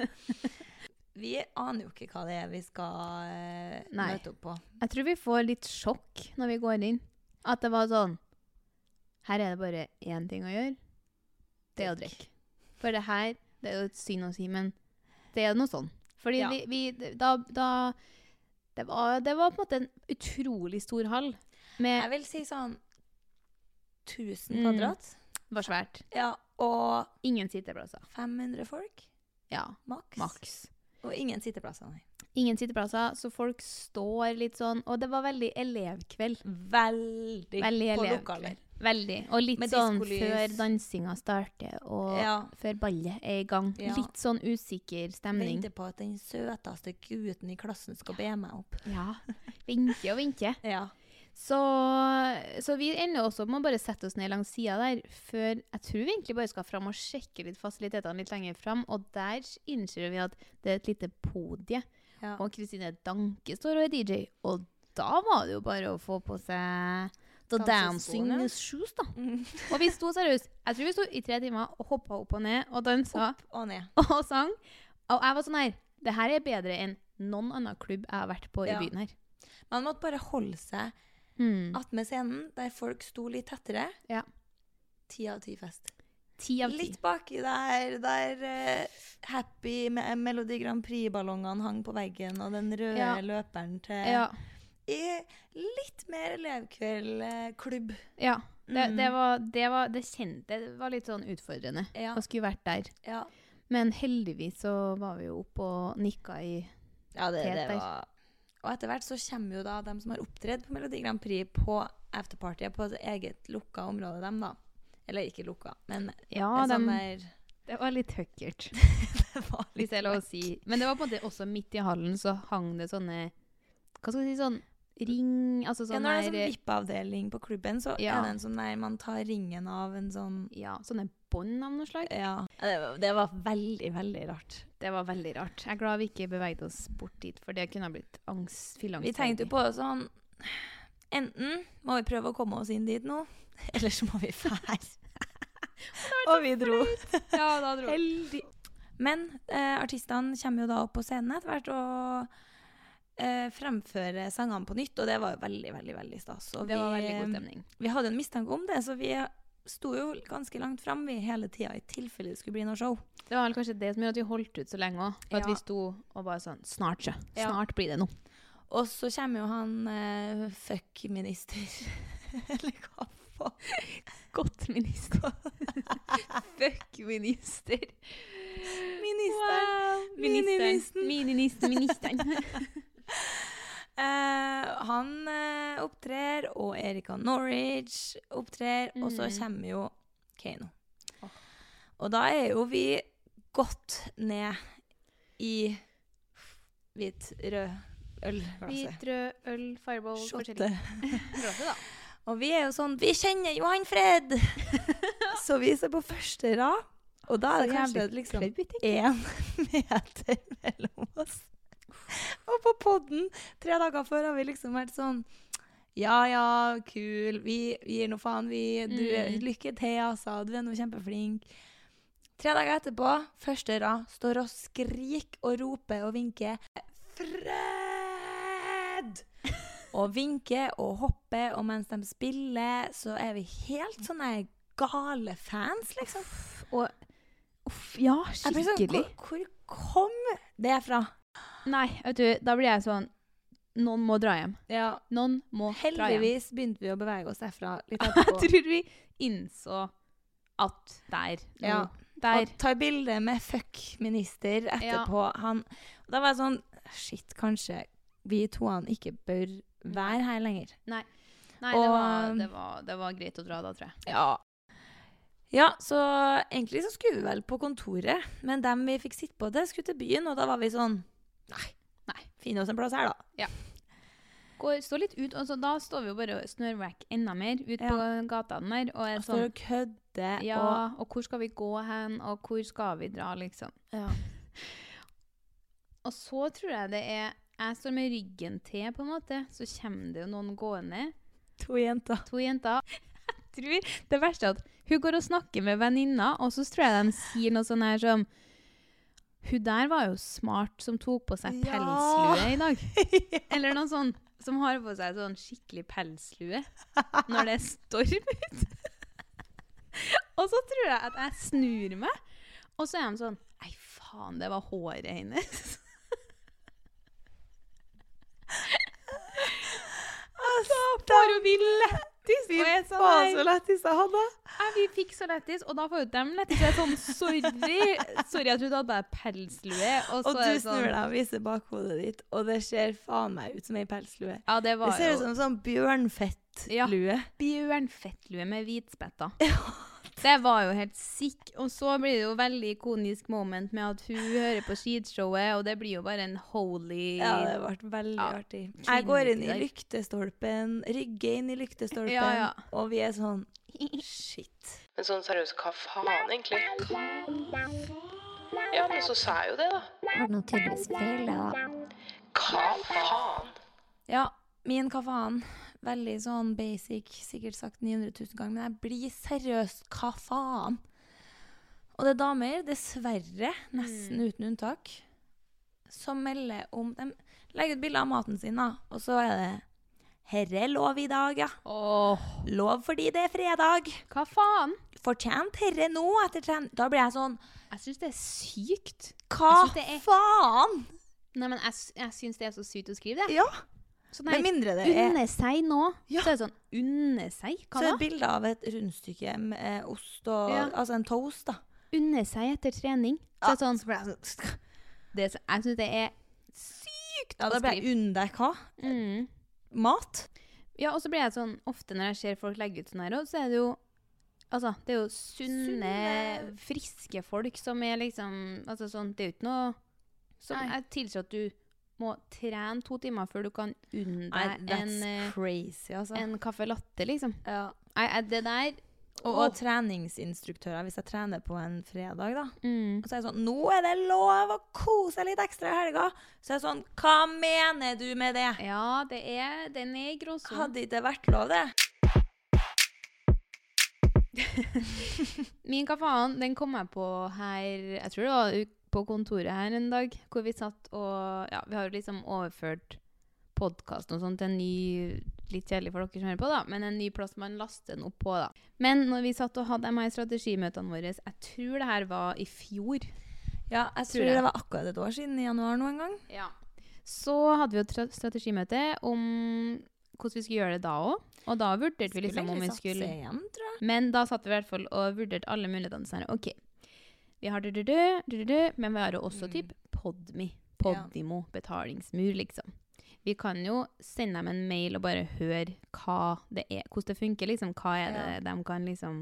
[SPEAKER 2] Vi aner jo ikke hva det er vi skal eh,
[SPEAKER 3] Nei.
[SPEAKER 2] møte opp på.
[SPEAKER 3] Jeg tror vi får litt sjokk når vi går inn. At det var sånn Her er det bare én ting å gjøre. Det er å drikke. For det her Det er jo synd å si, men det er noe sånn. Fordi
[SPEAKER 2] Ja.
[SPEAKER 3] vi, vi Da, da det, var, det var på en måte en utrolig stor hall. Med,
[SPEAKER 2] Jeg vil si sånn 1000
[SPEAKER 3] Eh. Mm.
[SPEAKER 2] kvadrat.
[SPEAKER 3] det var svært.
[SPEAKER 2] Ja, og
[SPEAKER 3] Ingen sitteplasser.
[SPEAKER 2] 500 folk,
[SPEAKER 3] Ja,
[SPEAKER 2] maks.
[SPEAKER 3] maks. Og ingen sitteplasser, nei.
[SPEAKER 4] Ingen sitteplasser, så folk står litt sånn. Og det var veldig elevkveld.
[SPEAKER 3] Veldig,
[SPEAKER 4] Veldig
[SPEAKER 3] på
[SPEAKER 4] elevkveld.
[SPEAKER 3] lokaler.
[SPEAKER 4] Veldig. Og litt
[SPEAKER 3] Med
[SPEAKER 4] sånn
[SPEAKER 3] diskolys.
[SPEAKER 4] før dansinga starter, og
[SPEAKER 3] Ja.
[SPEAKER 4] før ballet er i gang.
[SPEAKER 3] Ja.
[SPEAKER 4] Litt sånn usikker stemning.
[SPEAKER 3] Venter på at den søteste gutten i klassen skal be meg opp.
[SPEAKER 4] Ja. Vente og vente.
[SPEAKER 3] Ja.
[SPEAKER 4] Så, så vi ender også med å bare sette oss ned langs sida der, før jeg tror vi egentlig bare skal fram og sjekke litt fasilitetene litt lenger fram, og der innser vi at det er et lite podie,
[SPEAKER 3] Ja.
[SPEAKER 4] og Kristine Danke står og er DJ, og da var det jo bare å få på seg The
[SPEAKER 3] Danseskoene. Mm.
[SPEAKER 4] Dancing Shoes, da. Og vi sto seriøst, jeg tror vi sto i tre timer og hoppa opp og ned og dansa
[SPEAKER 3] Opp og ned.
[SPEAKER 4] og sang, og jeg var sånn her, det her er bedre enn noen annen klubb jeg har vært på
[SPEAKER 3] Ja.
[SPEAKER 4] i byen her.
[SPEAKER 3] Man måtte bare holde seg
[SPEAKER 4] Hmm.
[SPEAKER 3] attmed scenen, der folk sto litt tettere.
[SPEAKER 4] Ja.
[SPEAKER 3] Ti av ti fest.
[SPEAKER 4] Ti av ti.
[SPEAKER 3] Litt baki der, der eh, Happy med Melodi Grand Prix-ballongene hang på veggen, og den røde
[SPEAKER 4] Ja.
[SPEAKER 3] løperen til
[SPEAKER 4] Ja.
[SPEAKER 3] I Litt mer elevkveldklubb.
[SPEAKER 4] Ja, det,
[SPEAKER 3] Mm.
[SPEAKER 4] det, var, det, var, det, kjente, det var litt sånn utfordrende
[SPEAKER 3] Ja.
[SPEAKER 4] å skulle vært der.
[SPEAKER 3] Ja.
[SPEAKER 4] Men heldigvis så var vi jo oppe og nikka i
[SPEAKER 3] Ja, det, det
[SPEAKER 4] Peter.
[SPEAKER 3] var Og etter hvert så kommer jo da de som har opptredd på Melodi Grand Prix på afterpartyet på et eget lukka område, dem da. Eller ikke lukka, men
[SPEAKER 4] Ja,
[SPEAKER 3] en
[SPEAKER 4] dem-
[SPEAKER 3] sånn der
[SPEAKER 4] Det var litt høkkert,
[SPEAKER 3] Det var
[SPEAKER 4] hvis jeg lov å si. Men det var på en måte også midt i hallen så hang det sånne Hva skal vi si, sånn ring Altså
[SPEAKER 3] ja,
[SPEAKER 4] sånn
[SPEAKER 3] Når det er
[SPEAKER 4] der-
[SPEAKER 3] sånn VIP-avdeling på klubben, så
[SPEAKER 4] Ja.
[SPEAKER 3] er det en sånn der man tar ringen av en sånn
[SPEAKER 4] Ja, sånne bånd av noe slag.
[SPEAKER 3] Ja. Det var, Eh, det var veldig, veldig rart.
[SPEAKER 4] Det var veldig rart. Jeg er glad vi ikke beveget oss bort dit, for det kunne ha blitt angst, fylleangst.
[SPEAKER 3] Vi tenkte jo på sånn Enten må vi prøve å komme oss inn dit nå, eller så må vi fære. Og vi dro.
[SPEAKER 4] Ja, da dro vi.
[SPEAKER 3] Heldig. Men eh, artistene kommer jo da opp på scenen etter hvert og eh, fremfører sangene på nytt, og det var jo veldig, veldig veldig stas. Og
[SPEAKER 4] Det var
[SPEAKER 3] vi, eh,
[SPEAKER 4] veldig god stemning.
[SPEAKER 3] Vi hadde en mistanke om det, så vi sto jo ganske langt fram vi hele tida i tilfelle det skulle bli noe show.
[SPEAKER 4] Det var vel kanskje det som gjorde at vi holdt ut så lenge òg. For at
[SPEAKER 3] Ja.
[SPEAKER 4] vi sto og bare sånn Snart, sjø.
[SPEAKER 3] Ja.
[SPEAKER 4] Snart blir det noe.
[SPEAKER 3] Og så kommer jo han eh, fuck-minister, eller hva faen.
[SPEAKER 4] Godt minister. Fuck minister.
[SPEAKER 3] Ministeren. Ministeren.
[SPEAKER 4] Ministeren. Ministeren. Ministeren.
[SPEAKER 3] Eh, han eh, opptrer, og Erika Norwich opptrer, og så
[SPEAKER 4] Mm.
[SPEAKER 3] kommer jo Kano. Og da er jo vi godt ned i hvit-rød ølglasset.
[SPEAKER 4] Hvit, rød, øl, fireball,
[SPEAKER 3] Shotte.
[SPEAKER 4] forskjellig. Råte, da.
[SPEAKER 3] Og vi er jo sånn Vi kjenner jo han Fred! så vi ser på første rad, og da er det kanskje liksom én meter mellom oss. Og på podden, tre dager før, har vi liksom vært sånn Ja ja, kul. Vi gir nå faen, vi. Du, er- Lykke til, altså. Du er nå kjempeflink. Tre dager etterpå, første rad, står og skriker og roper og vinker Fred! Og vinker og hopper, og mens de spiller, så er vi helt sånne gale fans, liksom.
[SPEAKER 4] Uff, ja,
[SPEAKER 3] Jeg blir sånn,
[SPEAKER 4] skikkelig.
[SPEAKER 3] Hvor, hvor kom det fra?
[SPEAKER 4] Nei, vet du, da blir jeg sånn Noen må dra hjem.
[SPEAKER 3] Ja,
[SPEAKER 4] Noen må dra hjem.
[SPEAKER 3] Heldigvis begynte vi å bevege oss derfra litt
[SPEAKER 4] Jeg
[SPEAKER 3] etterpå.
[SPEAKER 4] tror vi innså at der. Nå.
[SPEAKER 3] Ja.
[SPEAKER 4] Der.
[SPEAKER 3] Og tar bilde med fuck minister etterpå. Han, og da var jeg sånn Shit, kanskje vi to han ikke bør være her lenger.
[SPEAKER 4] Nei. Nei,
[SPEAKER 3] Og-
[SPEAKER 4] det, var, det, var, det var greit å dra da, tror jeg.
[SPEAKER 3] Ja. så egentlig så skulle vi vel på kontoret, men dem vi fikk sitte på det, skulle til byen, og da var vi sånn Nei, nei, finn oss en plass her, da.
[SPEAKER 4] går, står litt ut, og så da står vi jo bare og snørvekk enda mer ut på gata den der, og er
[SPEAKER 3] Og står
[SPEAKER 4] sånn,
[SPEAKER 3] og kødder
[SPEAKER 4] ja,
[SPEAKER 3] og
[SPEAKER 4] og hvor skal vi gå hen, og hvor skal vi dra, liksom. Og så tror jeg det er, jeg står med ryggen til på en måte, så kommer det jo noen gående,
[SPEAKER 3] To jenter.
[SPEAKER 4] to jenter. Jeg tror det verste er at hun går og snakker med venninna, og så tror jeg de sier noe sånn her som, hun der var jo smart som tok på seg
[SPEAKER 3] Ja.
[SPEAKER 4] pelslue i dag. Eller noen sånn som har på seg sånn skikkelig pelslue når det er storm ute. Og så tror jeg at jeg snur meg, og så er de sånn Nei, faen, det var håret hennes. Altså, får hun bli lættis. Og jeg er sånn,
[SPEAKER 3] Faen, så
[SPEAKER 4] «Nei, sånn,
[SPEAKER 3] lættis jeg hadde.
[SPEAKER 4] jeg
[SPEAKER 3] vi fikk så lættis, og da får jo dem lættis. Jeg er sånn sorry, sorry, jeg trodde du hadde bare pelslue. Og, så
[SPEAKER 2] Og
[SPEAKER 3] er
[SPEAKER 2] du
[SPEAKER 3] det sånn,
[SPEAKER 2] snur deg og viser bakhodet ditt, og det ser faen meg ut som ei pelslue.
[SPEAKER 3] Ja, det
[SPEAKER 2] Det
[SPEAKER 3] var
[SPEAKER 2] ser
[SPEAKER 3] jo
[SPEAKER 2] ut som sånn bjørnfettlue.
[SPEAKER 3] bjørnfettlue med hvitspetter. Det var jo helt sick. Og så blir det jo veldig ikonisk moment med at hun hører på skishowet, og det blir jo bare en holy
[SPEAKER 2] Ja, det ble veldig
[SPEAKER 3] Ja.
[SPEAKER 2] artig. Jeg går inn i
[SPEAKER 3] Kvinnelig.
[SPEAKER 2] lyktestolpen, rygger inn i lyktestolpen,
[SPEAKER 3] Ja, ja.
[SPEAKER 2] og vi er sånn Shit.
[SPEAKER 5] Men sånn seriøst, hva faen egentlig? Ja, men så sa jeg jo det, da.
[SPEAKER 6] Har noe tydeligvis feil, det da.
[SPEAKER 5] Hva faen?
[SPEAKER 2] Ja, min hva faen. Veldig sånn basic, sikkert sagt 900 000 ganger, men jeg blir seriøst hva faen. Og det er damer, dessverre, nesten uten unntak, som melder om De legger ut bilde av maten sin, da, og så er det 'Herre lov i dag', ja.
[SPEAKER 3] Åh,
[SPEAKER 2] Lov fordi det er fredag.
[SPEAKER 3] hva faen?
[SPEAKER 2] Fortjent herre nå etter trening. Da blir jeg sånn
[SPEAKER 3] Jeg syns det er sykt.
[SPEAKER 2] Hva
[SPEAKER 3] Jeg synes det er-
[SPEAKER 2] faen?
[SPEAKER 3] Nei, men jeg, s- jeg syns det er så sykt å skrive det.
[SPEAKER 2] Ja.
[SPEAKER 3] Så nei,
[SPEAKER 2] Med mindre det er
[SPEAKER 3] unne seg nå.
[SPEAKER 2] Ja.
[SPEAKER 3] Så er det sånn Unne seg?
[SPEAKER 2] så
[SPEAKER 3] Hva
[SPEAKER 2] er
[SPEAKER 3] da?
[SPEAKER 2] det bilde av et rundstykke med eh, ost og
[SPEAKER 3] Ja.
[SPEAKER 2] Altså en toast, da.
[SPEAKER 3] Unne seg etter trening. Så er det sånn
[SPEAKER 2] Så blir jeg sånn
[SPEAKER 3] det, er så- Jeg syns det er
[SPEAKER 2] Ja, da ble jeg unn deg hva?
[SPEAKER 3] mm.
[SPEAKER 2] Mat?
[SPEAKER 3] Ja, og så blir jeg sånn Ofte når jeg ser folk legge ut sånn her, også, så er det jo Altså, det er jo sunne,
[SPEAKER 2] Sunne.
[SPEAKER 3] friske folk som er liksom Altså sånn Det er jo ikke noe som
[SPEAKER 2] Nei.
[SPEAKER 3] jeg tilsier at du må trene to timer før du kan unne
[SPEAKER 2] Nei,
[SPEAKER 3] deg en,
[SPEAKER 2] that's
[SPEAKER 3] eh,
[SPEAKER 2] crazy, altså.
[SPEAKER 3] en kaffe latte, liksom.
[SPEAKER 2] ja.
[SPEAKER 3] Nei, eh, det der
[SPEAKER 2] og,
[SPEAKER 3] Åh.
[SPEAKER 2] og treningsinstruktører, hvis jeg trener på en fredag, da.
[SPEAKER 3] mm.
[SPEAKER 2] Og så er det sånn Nå er det lov å kose seg litt ekstra i helga! Så er det sånn Hva mener du med det?
[SPEAKER 3] Ja, det er, den er i gråsonen.
[SPEAKER 2] Hadde ikke vært lov, det?
[SPEAKER 3] Min kafaan, den kom jeg på her Jeg tror det var u- på kontoret her en dag, hvor vi satt og Ja, vi har jo liksom overført podkasten og sånn til en ny Litt kjedelig for dere som hører på, da, men en ny plass man laster den opp på, da. Men når vi satt og hadde de her strategimøtene våre Jeg tror det her var i fjor.
[SPEAKER 2] Ja, jeg tror,
[SPEAKER 3] Tror jeg.
[SPEAKER 2] det var akkurat et år siden i januar nå en gang.
[SPEAKER 3] Så hadde vi jo et tra- strategimøte om hvordan vi skulle gjøre det da òg. Og da vurderte vi liksom om vi skulle
[SPEAKER 2] igjen, tror jeg.
[SPEAKER 3] Men da satt vi i hvert fall og vurderte alle mulighetene. Sånn, her, ok, vi har du-du-du, du-du-du, men vi har jo også typ Podme. Podimo, betalingsmur, liksom. Vi kan jo sende dem en mail og bare høre hva det er, hvordan det funker, liksom. Hva er det de kan liksom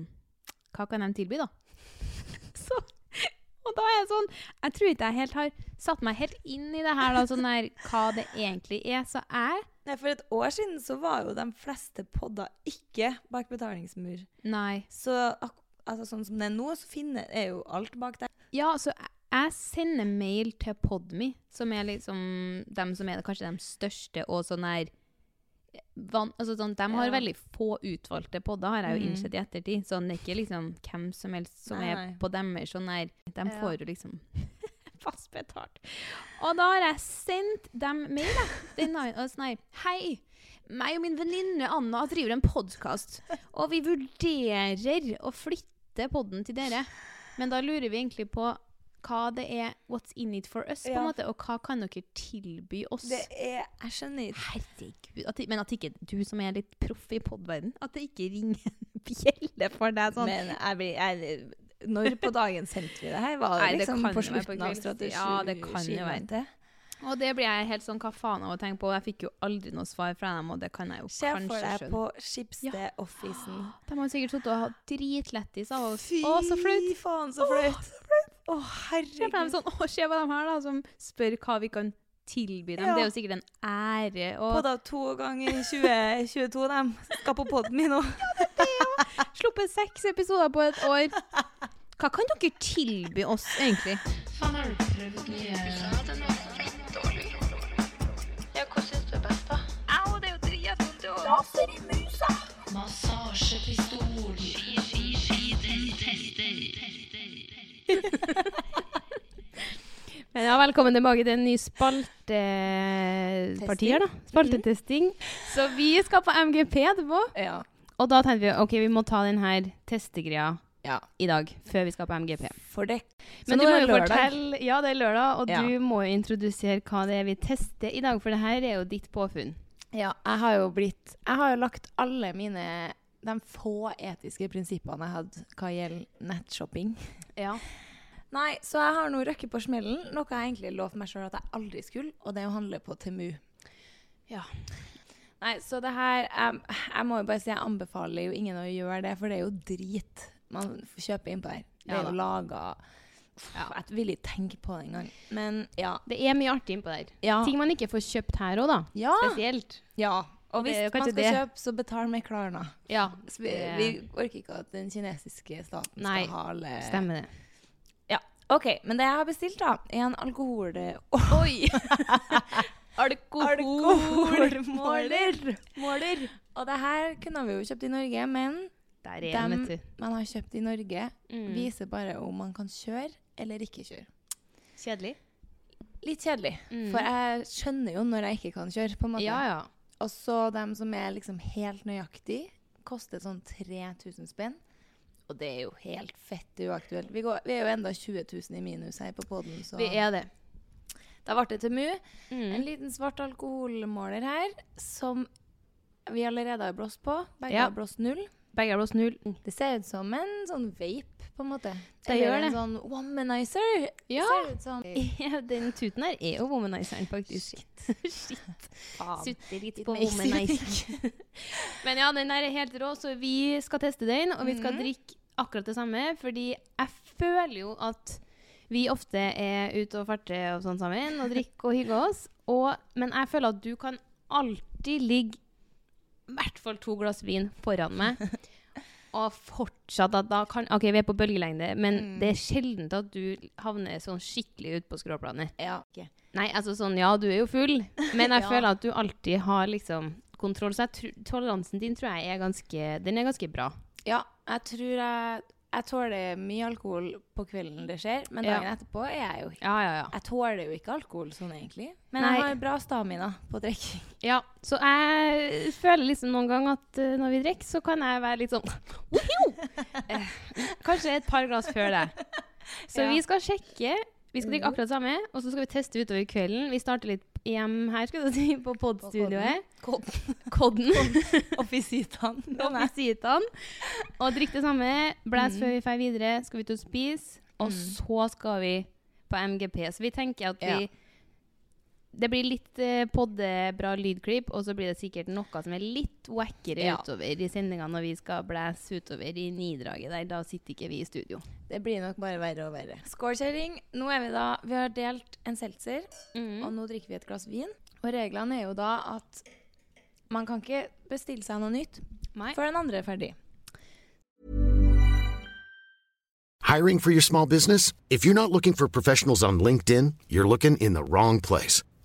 [SPEAKER 3] Hva kan de tilby, da? Så, og da er jeg sånn Jeg tror ikke jeg helt har satt meg helt inn i det her, da, sånn der, hva det egentlig er. Så jeg
[SPEAKER 2] Nei, for et år siden så var jo de fleste podder ikke bak betalingsmur.
[SPEAKER 3] Nei.
[SPEAKER 2] Så ak altså, sånn som det er nå, så finner, er jo alt bak der.
[SPEAKER 3] Ja, så jeg- jeg sender mail til Podme, som er liksom dem som er kanskje de største og sånn her van, altså sånn, De har
[SPEAKER 2] Ja.
[SPEAKER 3] veldig få utvalgte podder, har jeg jo
[SPEAKER 2] Mm.
[SPEAKER 3] innsett i ettertid. Sånn, det er ikke liksom hvem som helst som
[SPEAKER 2] Nei,
[SPEAKER 3] er
[SPEAKER 2] nei.
[SPEAKER 3] på deres sånn her. De
[SPEAKER 2] Ja.
[SPEAKER 3] får jo liksom fast betalt. Og da har jeg sendt dem mail, da. Den har- og sånn her Hei! Meg og min venninne Anna driver en podkast, og vi vurderer å flytte podden til dere. Men da lurer vi egentlig på hva det er What's in it for us, på
[SPEAKER 2] Ja.
[SPEAKER 3] en måte, og hva kan dere tilby oss?
[SPEAKER 2] Det er Jeg skjønner ikke.
[SPEAKER 3] Herregud. At, men at ikke du som er litt proff i podverden, at det ikke ringer en bjelle for deg sånn.
[SPEAKER 2] Men jeg blir jeg, Når på dagen sendte vi det her? Var det
[SPEAKER 3] Nei, det
[SPEAKER 2] liksom
[SPEAKER 3] kan
[SPEAKER 2] på
[SPEAKER 3] jo være på
[SPEAKER 2] slutten av
[SPEAKER 3] kveldstid.
[SPEAKER 2] strategi?
[SPEAKER 3] Ja, det kan jo være.
[SPEAKER 2] skimøtet?
[SPEAKER 3] og det blir jeg helt sånn hva faen av å tenke på. Jeg fikk jo aldri noe svar fra dem, og det kan jeg jo
[SPEAKER 2] Se for
[SPEAKER 3] kanskje
[SPEAKER 2] deg
[SPEAKER 3] skjønne.
[SPEAKER 2] på Schibsted-offisen.
[SPEAKER 3] De har sikkert sittet og hatt dritlættis av oss.
[SPEAKER 2] Fy
[SPEAKER 3] Å, så flaut!
[SPEAKER 2] faen, så flaut! Å,
[SPEAKER 3] Se på dem
[SPEAKER 2] herregud.
[SPEAKER 3] sånn, å, se på dem her, da, som spør hva vi kan tilby dem.
[SPEAKER 2] Ja.
[SPEAKER 3] Det er jo sikkert en ære. Og
[SPEAKER 2] Podda to ganger 2022, dem. Skal på podden min nå.
[SPEAKER 3] Sluppet seks episoder på et år. Hva kan dere tilby oss, egentlig?
[SPEAKER 5] Ja, hva syns du er best, da?
[SPEAKER 7] Men ja, velkommen tilbake til en ny spaltepartier, da. Spaltetesting. Så vi skal på MGP etterpå.
[SPEAKER 2] Ja.
[SPEAKER 7] Og da tenkte vi ok, vi må ta den her testegreia
[SPEAKER 2] Ja.
[SPEAKER 7] i dag, før vi skal på MGP.
[SPEAKER 2] For det. Så
[SPEAKER 7] Men
[SPEAKER 2] nå
[SPEAKER 7] du må
[SPEAKER 2] er
[SPEAKER 7] jo
[SPEAKER 2] lørdag.
[SPEAKER 7] fortelle Ja, det er lørdag, og
[SPEAKER 2] Ja.
[SPEAKER 7] du må jo introdusere hva det er vi tester i dag, for det her er jo ditt påfunn.
[SPEAKER 6] Ja, jeg har jo blitt Jeg har jo lagt alle mine
[SPEAKER 3] de få etiske prinsippene jeg hadde hva gjelder nettshopping.
[SPEAKER 5] Ja.
[SPEAKER 3] Nei, så jeg har nå røkket på smellen, noe jeg egentlig lovte meg sjøl at jeg aldri skulle, og det er å handle på Temu. Ja. Nei, så det her em, Jeg må jo bare si jeg anbefaler jo ingen å gjøre det, for det er jo drit man f- kjøper innpå her. Det
[SPEAKER 5] Ja
[SPEAKER 3] er jo laga Jeg vil ikke tenke på det engang. Men ja.
[SPEAKER 5] Det er mye artig innpå der.
[SPEAKER 3] Ja.
[SPEAKER 5] Ting man ikke får kjøpt her òg, da.
[SPEAKER 3] Ja.
[SPEAKER 5] Spesielt.
[SPEAKER 3] ja. Og
[SPEAKER 5] Det
[SPEAKER 3] hvis
[SPEAKER 5] er jo
[SPEAKER 3] man
[SPEAKER 5] kanskje
[SPEAKER 3] skal
[SPEAKER 5] det.
[SPEAKER 3] kjøpe, så betal med Klarna.
[SPEAKER 5] Ja.
[SPEAKER 3] Så Vi,
[SPEAKER 5] det-
[SPEAKER 3] vi orker ikke at den kinesiske staten
[SPEAKER 5] Nei,
[SPEAKER 3] skal ha alle
[SPEAKER 5] Stemmer det.
[SPEAKER 3] Ja. OK. Men det jeg har bestilt, da, er en alkohol...
[SPEAKER 5] Oi!
[SPEAKER 3] Alkoholmåler!
[SPEAKER 5] Måler.
[SPEAKER 3] Og det her kunne vi jo kjøpt i Norge, men
[SPEAKER 5] Der er den,
[SPEAKER 3] dem
[SPEAKER 5] vet du.
[SPEAKER 3] man har kjøpt i Norge,
[SPEAKER 5] Mm.
[SPEAKER 3] viser bare om man kan kjøre eller ikke kjøre.
[SPEAKER 5] Kjedelig.
[SPEAKER 3] Litt kjedelig, for jeg skjønner jo når jeg ikke kan kjøre. på en måte.
[SPEAKER 5] Mm. Ja, ja.
[SPEAKER 3] Og så dem som er liksom helt nøyaktig, koster sånn 3000 spenn. Og det er jo helt fett uaktuelt. Vi, går, vi er jo enda 20 000 i minus her på poden, så
[SPEAKER 5] Vi er Mm. det.
[SPEAKER 3] Da ble det til Mu. En liten svart alkoholmåler her som vi allerede har blåst på. Begge
[SPEAKER 5] Ja.
[SPEAKER 3] har blåst null.
[SPEAKER 5] Begge er blåst null.
[SPEAKER 3] Det ser ut som en sånn vape, på en måte.
[SPEAKER 5] Det
[SPEAKER 3] Eller
[SPEAKER 5] gjør
[SPEAKER 3] en
[SPEAKER 5] det.
[SPEAKER 3] sånn womanizer.
[SPEAKER 5] Ja.
[SPEAKER 3] Ser ut som
[SPEAKER 5] Den tuten her er jo womanizeren, faktisk. Shit. Sutter litt på
[SPEAKER 3] makes you
[SPEAKER 5] womanizer. Men ja, den der er helt rå, så vi skal teste den, og vi skal drikke akkurat det samme, fordi jeg føler jo at vi ofte er ute og farter og sånn sammen, og drikker og hygger oss, og, men jeg føler at du kan alltid ligge i hvert fall to glass vin foran meg, og fortsatt at da kan Ok, vi er på bølgelengde, men det er sjelden at du havner sånn skikkelig ut på skråplanet.
[SPEAKER 3] Ja. Ok.
[SPEAKER 5] Nei, altså sånn, ja, du er jo full, men jeg
[SPEAKER 3] Ja.
[SPEAKER 5] føler at du alltid har liksom kontroll. Så jeg tr toleransen din tror jeg er ganske Den er ganske bra.
[SPEAKER 3] ja, jeg tror jeg Jeg tåler mye alkohol på kvelden det skjer, men
[SPEAKER 5] Ja.
[SPEAKER 3] dagen etterpå er jeg jo
[SPEAKER 5] Ja, ja, ja.
[SPEAKER 3] Jeg tåler jo ikke alkohol sånn, egentlig. Men
[SPEAKER 5] Nei.
[SPEAKER 3] jeg har bra stamina på drikking.
[SPEAKER 5] ja. Så jeg føler liksom noen ganger at eh, når vi drikker, så kan jeg være litt sånn «Woho!» eh, Kanskje et par glass før det. Så
[SPEAKER 3] Ja. Mm.
[SPEAKER 5] vi skal sjekke. Vi skal drikke akkurat samme, og så skal vi teste utover kvelden. Vi starter litt hjem her, skulle jeg si, på podstudioet. Kodden.
[SPEAKER 3] Og visitene.
[SPEAKER 5] og visitene. Og drikke det samme. Blæs før
[SPEAKER 3] Mm.
[SPEAKER 5] vi drar videre. Skal vi ut og spise. Og så skal vi på MGP. Så vi tenker at vi
[SPEAKER 3] Ja.
[SPEAKER 5] Det blir litt eh, poddebra lydklipp, og så blir det sikkert noe som er litt wackere
[SPEAKER 3] Ja.
[SPEAKER 5] utover i sendinga når vi skal blæse utover i nidraget der. Da sitter ikke vi i studio.
[SPEAKER 3] Det blir nok bare verre og verre. Skål, kjerring. Nå er vi da Vi har delt en seltzer, og nå drikker vi et glass vin. Og reglene er jo da at man kan ikke bestille seg noe nytt
[SPEAKER 5] Nei.
[SPEAKER 3] før den andre er ferdig.
[SPEAKER 6] Hiring for your small business? If you're not looking for professionals on LinkedIn, you're looking in the wrong place.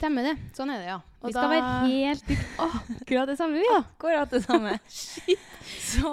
[SPEAKER 5] Stemmer det. Sånn er det, ja.
[SPEAKER 3] Og
[SPEAKER 5] vi skal
[SPEAKER 3] da-
[SPEAKER 5] være helt lik- Åh, akkurat det samme, vi, da.
[SPEAKER 3] Akkurat det samme. Så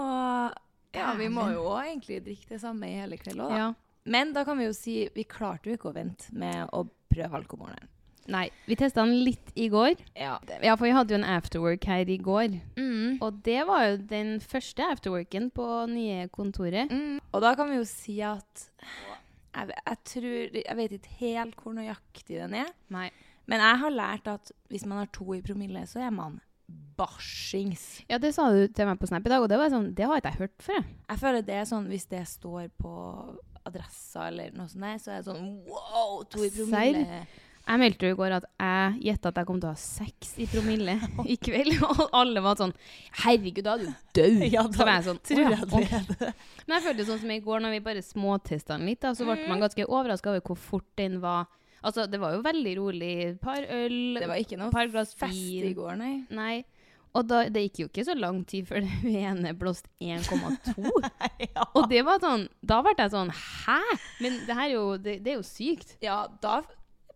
[SPEAKER 3] ja, vi må jo òg egentlig drikke det samme i hele kveld òg, da.
[SPEAKER 5] Ja.
[SPEAKER 3] Men da kan vi jo si vi klarte jo ikke å vente med å prøve alkoholen. Nei. Vi testa den litt i går. Ja. for vi hadde jo en afterwork her i går.
[SPEAKER 5] Mm.
[SPEAKER 3] Og det var jo den første afterworken på nye kontoret.
[SPEAKER 5] Og da kan vi jo si at jeg, jeg tror Jeg vet ikke helt hvor nøyaktig den er.
[SPEAKER 3] Nei.
[SPEAKER 5] Men jeg har lært at hvis man har to i promille, så er man barsings.
[SPEAKER 3] Ja, det sa du til meg på Snap i dag, og det var sånn, det har ikke jeg hørt før. jeg.
[SPEAKER 5] Jeg føler det er sånn hvis det står på adressa eller noe sånt, der, så er det sånn wow, to i promille.
[SPEAKER 3] Serr? Jeg meldte jo i går at jeg gjetta at jeg kom til å ha seks i promille i kveld. Og alle var sånn Herregud, da er du død!
[SPEAKER 5] Ja, da
[SPEAKER 3] så var jeg sånn,
[SPEAKER 5] tror
[SPEAKER 3] «Å ja,
[SPEAKER 5] jeg det er
[SPEAKER 3] ok». Men jeg følte jo sånn som i går, når vi bare småtesta den litt, da, så ble
[SPEAKER 5] Mm.
[SPEAKER 3] man ganske overraska over hvor fort den var. Altså, det var jo veldig rolig. Par øl,
[SPEAKER 5] Det var ikke noe
[SPEAKER 3] par glass
[SPEAKER 5] fest i
[SPEAKER 3] vin.
[SPEAKER 5] går, nei.
[SPEAKER 3] Nei. Og da, det gikk jo ikke så lang tid før den ene blåste 1,2. Og det var sånn Da ble jeg sånn Hæ?! Men det her er jo Det, det er jo sykt.
[SPEAKER 5] Ja, da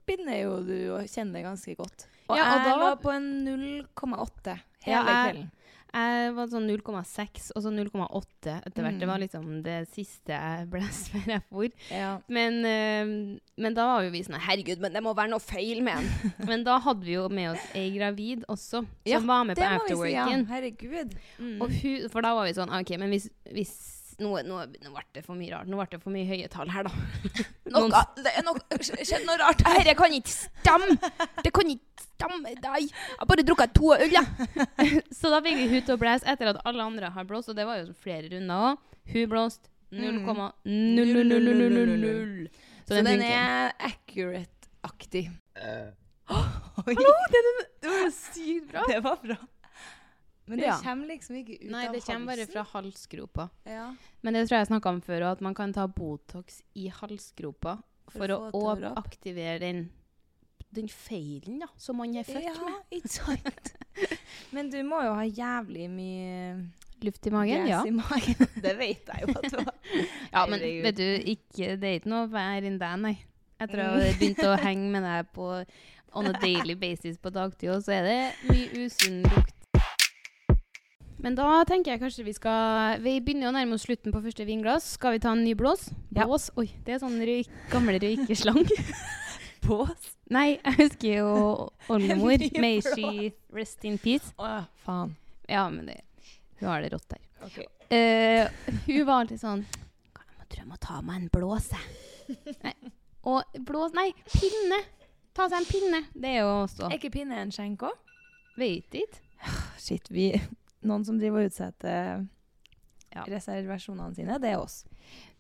[SPEAKER 5] begynner jo du å kjenne det ganske godt. Og
[SPEAKER 3] Ja, og
[SPEAKER 5] jeg
[SPEAKER 3] da-
[SPEAKER 5] lå på en 0,8 hele
[SPEAKER 3] Ja, jeg-
[SPEAKER 5] kvelden.
[SPEAKER 3] Jeg var sånn 0,6 og så 0,8 etter hvert.
[SPEAKER 5] Mm.
[SPEAKER 3] Det var liksom det siste jeg blæs før jeg for.
[SPEAKER 5] Ja.
[SPEAKER 3] Men, eh, men da var jo vi sånn Herregud, men det må være noe feil med den. men da hadde vi jo med oss ei gravid også, som
[SPEAKER 5] Ja,
[SPEAKER 3] var med på
[SPEAKER 5] det må vi si, ja.
[SPEAKER 3] afterworken.
[SPEAKER 5] Herregud. Mm.
[SPEAKER 3] Og hun, for da var vi sånn OK, men hvis, hvis nå, nå, nå ble det for mye rart. Nå ble det for mye høye tall her, da. Noen-
[SPEAKER 5] Noe- det er noe- skjedd noe rart her.
[SPEAKER 3] Dette kan ikke stemme! Det kan ikke stemme deg! Jeg har bare drukket to øl, jeg! så da fikk vi hun til å blæse etter at alle andre har blåst, og det var jo flere runder òg. Hun blåste 0,000.
[SPEAKER 5] Så den, er accurate-aktig. Oi.
[SPEAKER 3] Hallo! Det, det, det var jo sykt bra!
[SPEAKER 5] Det var bra. Men det
[SPEAKER 3] Ja.
[SPEAKER 5] kommer liksom ikke ut
[SPEAKER 3] Nei,
[SPEAKER 5] av
[SPEAKER 3] det kommer bare
[SPEAKER 5] halsen.
[SPEAKER 3] fra halsgropa.
[SPEAKER 5] Ja.
[SPEAKER 3] Men det tror jeg jeg snakka om før, og at man kan ta Botox i halsgropa
[SPEAKER 5] For
[SPEAKER 3] for,
[SPEAKER 5] å få
[SPEAKER 3] å
[SPEAKER 5] tårer opp.
[SPEAKER 3] aktivere den, den feilen da, som man er født
[SPEAKER 5] ja,
[SPEAKER 3] med.
[SPEAKER 5] ikke sant? Men du må jo ha jævlig mye
[SPEAKER 3] Luft i magen, ja.
[SPEAKER 5] gress i magen. Det vet jeg jo at du har.
[SPEAKER 3] Ja, men
[SPEAKER 5] Herregud.
[SPEAKER 3] vet du, ikke, det er ikke noe vær enn deg, nei. Etter å ha
[SPEAKER 5] Mm.
[SPEAKER 3] begynt å henge med deg på on a daily basis på dagtid, også, så er det mye usunn lukt. Men da tenker jeg kanskje vi skal Vi begynner jo å nærme oss slutten på første vinglass. Skal vi ta en ny blås?
[SPEAKER 5] Ja.
[SPEAKER 3] Blås? Oi, det er sånn røyk, gammel røykeslang.
[SPEAKER 5] Bås?
[SPEAKER 3] Nei, jeg husker jo oldemor.
[SPEAKER 5] En ny
[SPEAKER 3] May
[SPEAKER 5] blås.
[SPEAKER 3] she rest in peace.
[SPEAKER 5] Å, faen.
[SPEAKER 3] Ja, men det, hun har det rått der.
[SPEAKER 5] Ok.
[SPEAKER 3] Eh, hun var alltid sånn «Hva, Jeg må- tror jeg må ta meg en blås, jeg. Nei, Og blås Nei, pinne! Ta seg en pinne. Det er jo
[SPEAKER 5] Er
[SPEAKER 3] også
[SPEAKER 5] ikke pinne en skjenk òg?
[SPEAKER 3] Veit ikke.
[SPEAKER 5] Shit, vi Noen som driver og utsetter
[SPEAKER 3] Ja.
[SPEAKER 5] reservasjonene sine, det er oss.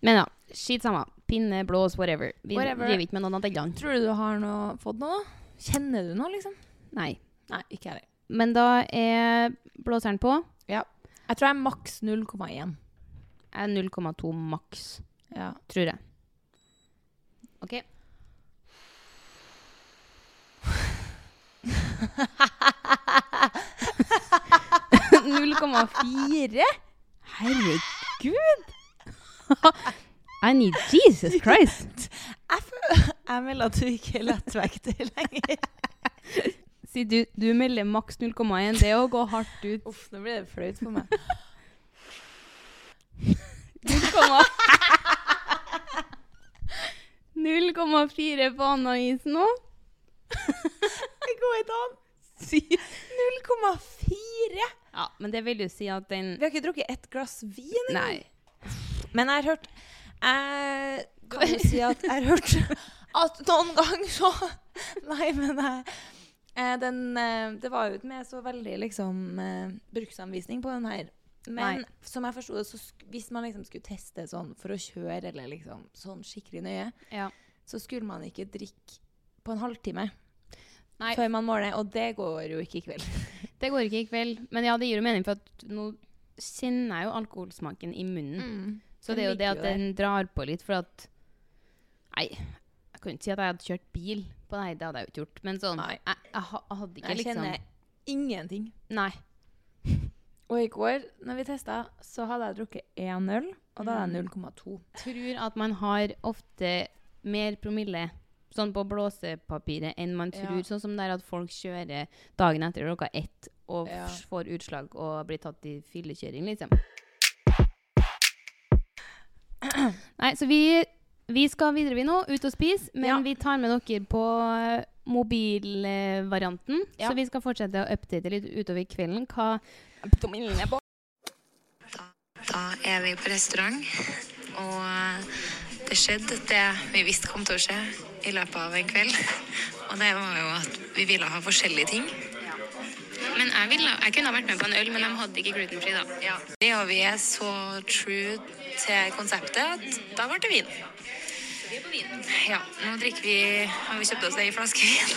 [SPEAKER 3] Men ja, skitt samme. Pinne, blås, whatever. Vi
[SPEAKER 5] Whatever.
[SPEAKER 3] driver ikke med noen av delene.
[SPEAKER 5] Tror du du har noe, fått noe? Kjenner du noe, liksom?
[SPEAKER 3] Nei.
[SPEAKER 5] Nei, ikke heller.
[SPEAKER 3] Men da er blåseren på.
[SPEAKER 5] Jeg tror jeg er maks 0,1.
[SPEAKER 3] Jeg er 0,2 maks,
[SPEAKER 5] Ja.
[SPEAKER 3] tror jeg. OK.
[SPEAKER 5] Herregud!
[SPEAKER 3] 0,4? Herregud! I need Jesus Christ!
[SPEAKER 5] Jeg, føl- jeg melder at du ikke er lettvekter lenger.
[SPEAKER 3] Si du, du melder maks 0,1. Det er å gå hardt ut.
[SPEAKER 5] Uff, nå blir det flaut for meg.
[SPEAKER 3] 0,4 på anaisen nå.
[SPEAKER 5] Det går ikke an. 0,4!
[SPEAKER 3] Ja, men det vil jo si at den
[SPEAKER 5] Vi har ikke drukket ett glass vin engang.
[SPEAKER 3] Nei.
[SPEAKER 5] Men jeg har hørt Jeg kan jo si at jeg har hørt at noen ganger så Nei, men jeg eh, den, eh, Det var jo ikke med så veldig liksom, eh, bruksanvisning på den her. Men
[SPEAKER 3] Nei.
[SPEAKER 5] som jeg forsto det, så sk hvis man liksom skulle teste sånn for å kjøre, eller liksom sånn skikkelig nøye,
[SPEAKER 3] Ja.
[SPEAKER 5] så skulle man ikke drikke på en halvtime
[SPEAKER 3] Nei.
[SPEAKER 5] før man måler, og det går jo ikke i kveld.
[SPEAKER 3] Det går ikke i kveld. Men ja, det gir jo mening, for at nå kjenner jeg jo alkoholsmaken i munnen. Så
[SPEAKER 5] Den
[SPEAKER 3] det er jo det
[SPEAKER 5] ligger
[SPEAKER 3] at
[SPEAKER 5] jo der.
[SPEAKER 3] den drar på litt, for at Nei, jeg kan jo ikke si at jeg hadde kjørt bil på det her, det hadde jeg jo ikke gjort. Men sånn,
[SPEAKER 5] Nei.
[SPEAKER 3] jeg, jeg, ha- jeg hadde ikke
[SPEAKER 5] Jeg
[SPEAKER 3] liksom
[SPEAKER 5] kjenner ingenting.
[SPEAKER 3] Nei.
[SPEAKER 5] Og i går, når vi testa, så hadde jeg drukket én øl, og da
[SPEAKER 3] Mm.
[SPEAKER 5] hadde jeg 0,2.
[SPEAKER 3] tror at man har ofte mer promille sånn på blåsepapiret enn man
[SPEAKER 5] Ja.
[SPEAKER 3] tror. Sånn som det er at folk kjører dagen etter klokka ett og
[SPEAKER 5] Ja.
[SPEAKER 3] f- får utslag og blir tatt i fyllekjøring, liksom. Nei, så vi
[SPEAKER 8] Vi skal videre vi nå, ut og spise, men vi tar med dere på eh, mobilvarianten.
[SPEAKER 9] Ja.
[SPEAKER 8] Så vi skal fortsette å update litt utover kvelden. Hva
[SPEAKER 5] Da er vi på restaurant, og det skjedde det vi visste kom til å skje i løpet av en kveld. Og det var jo at vi ville ha forskjellige ting.
[SPEAKER 3] Men jeg, ville, jeg kunne ha vært med på en øl, men de hadde ikke glutenfri da.
[SPEAKER 5] Det, og vi er så true til konseptet at da ble det vin. Ja, nå drikker vi Har vi kjøpt oss ei flaske vin?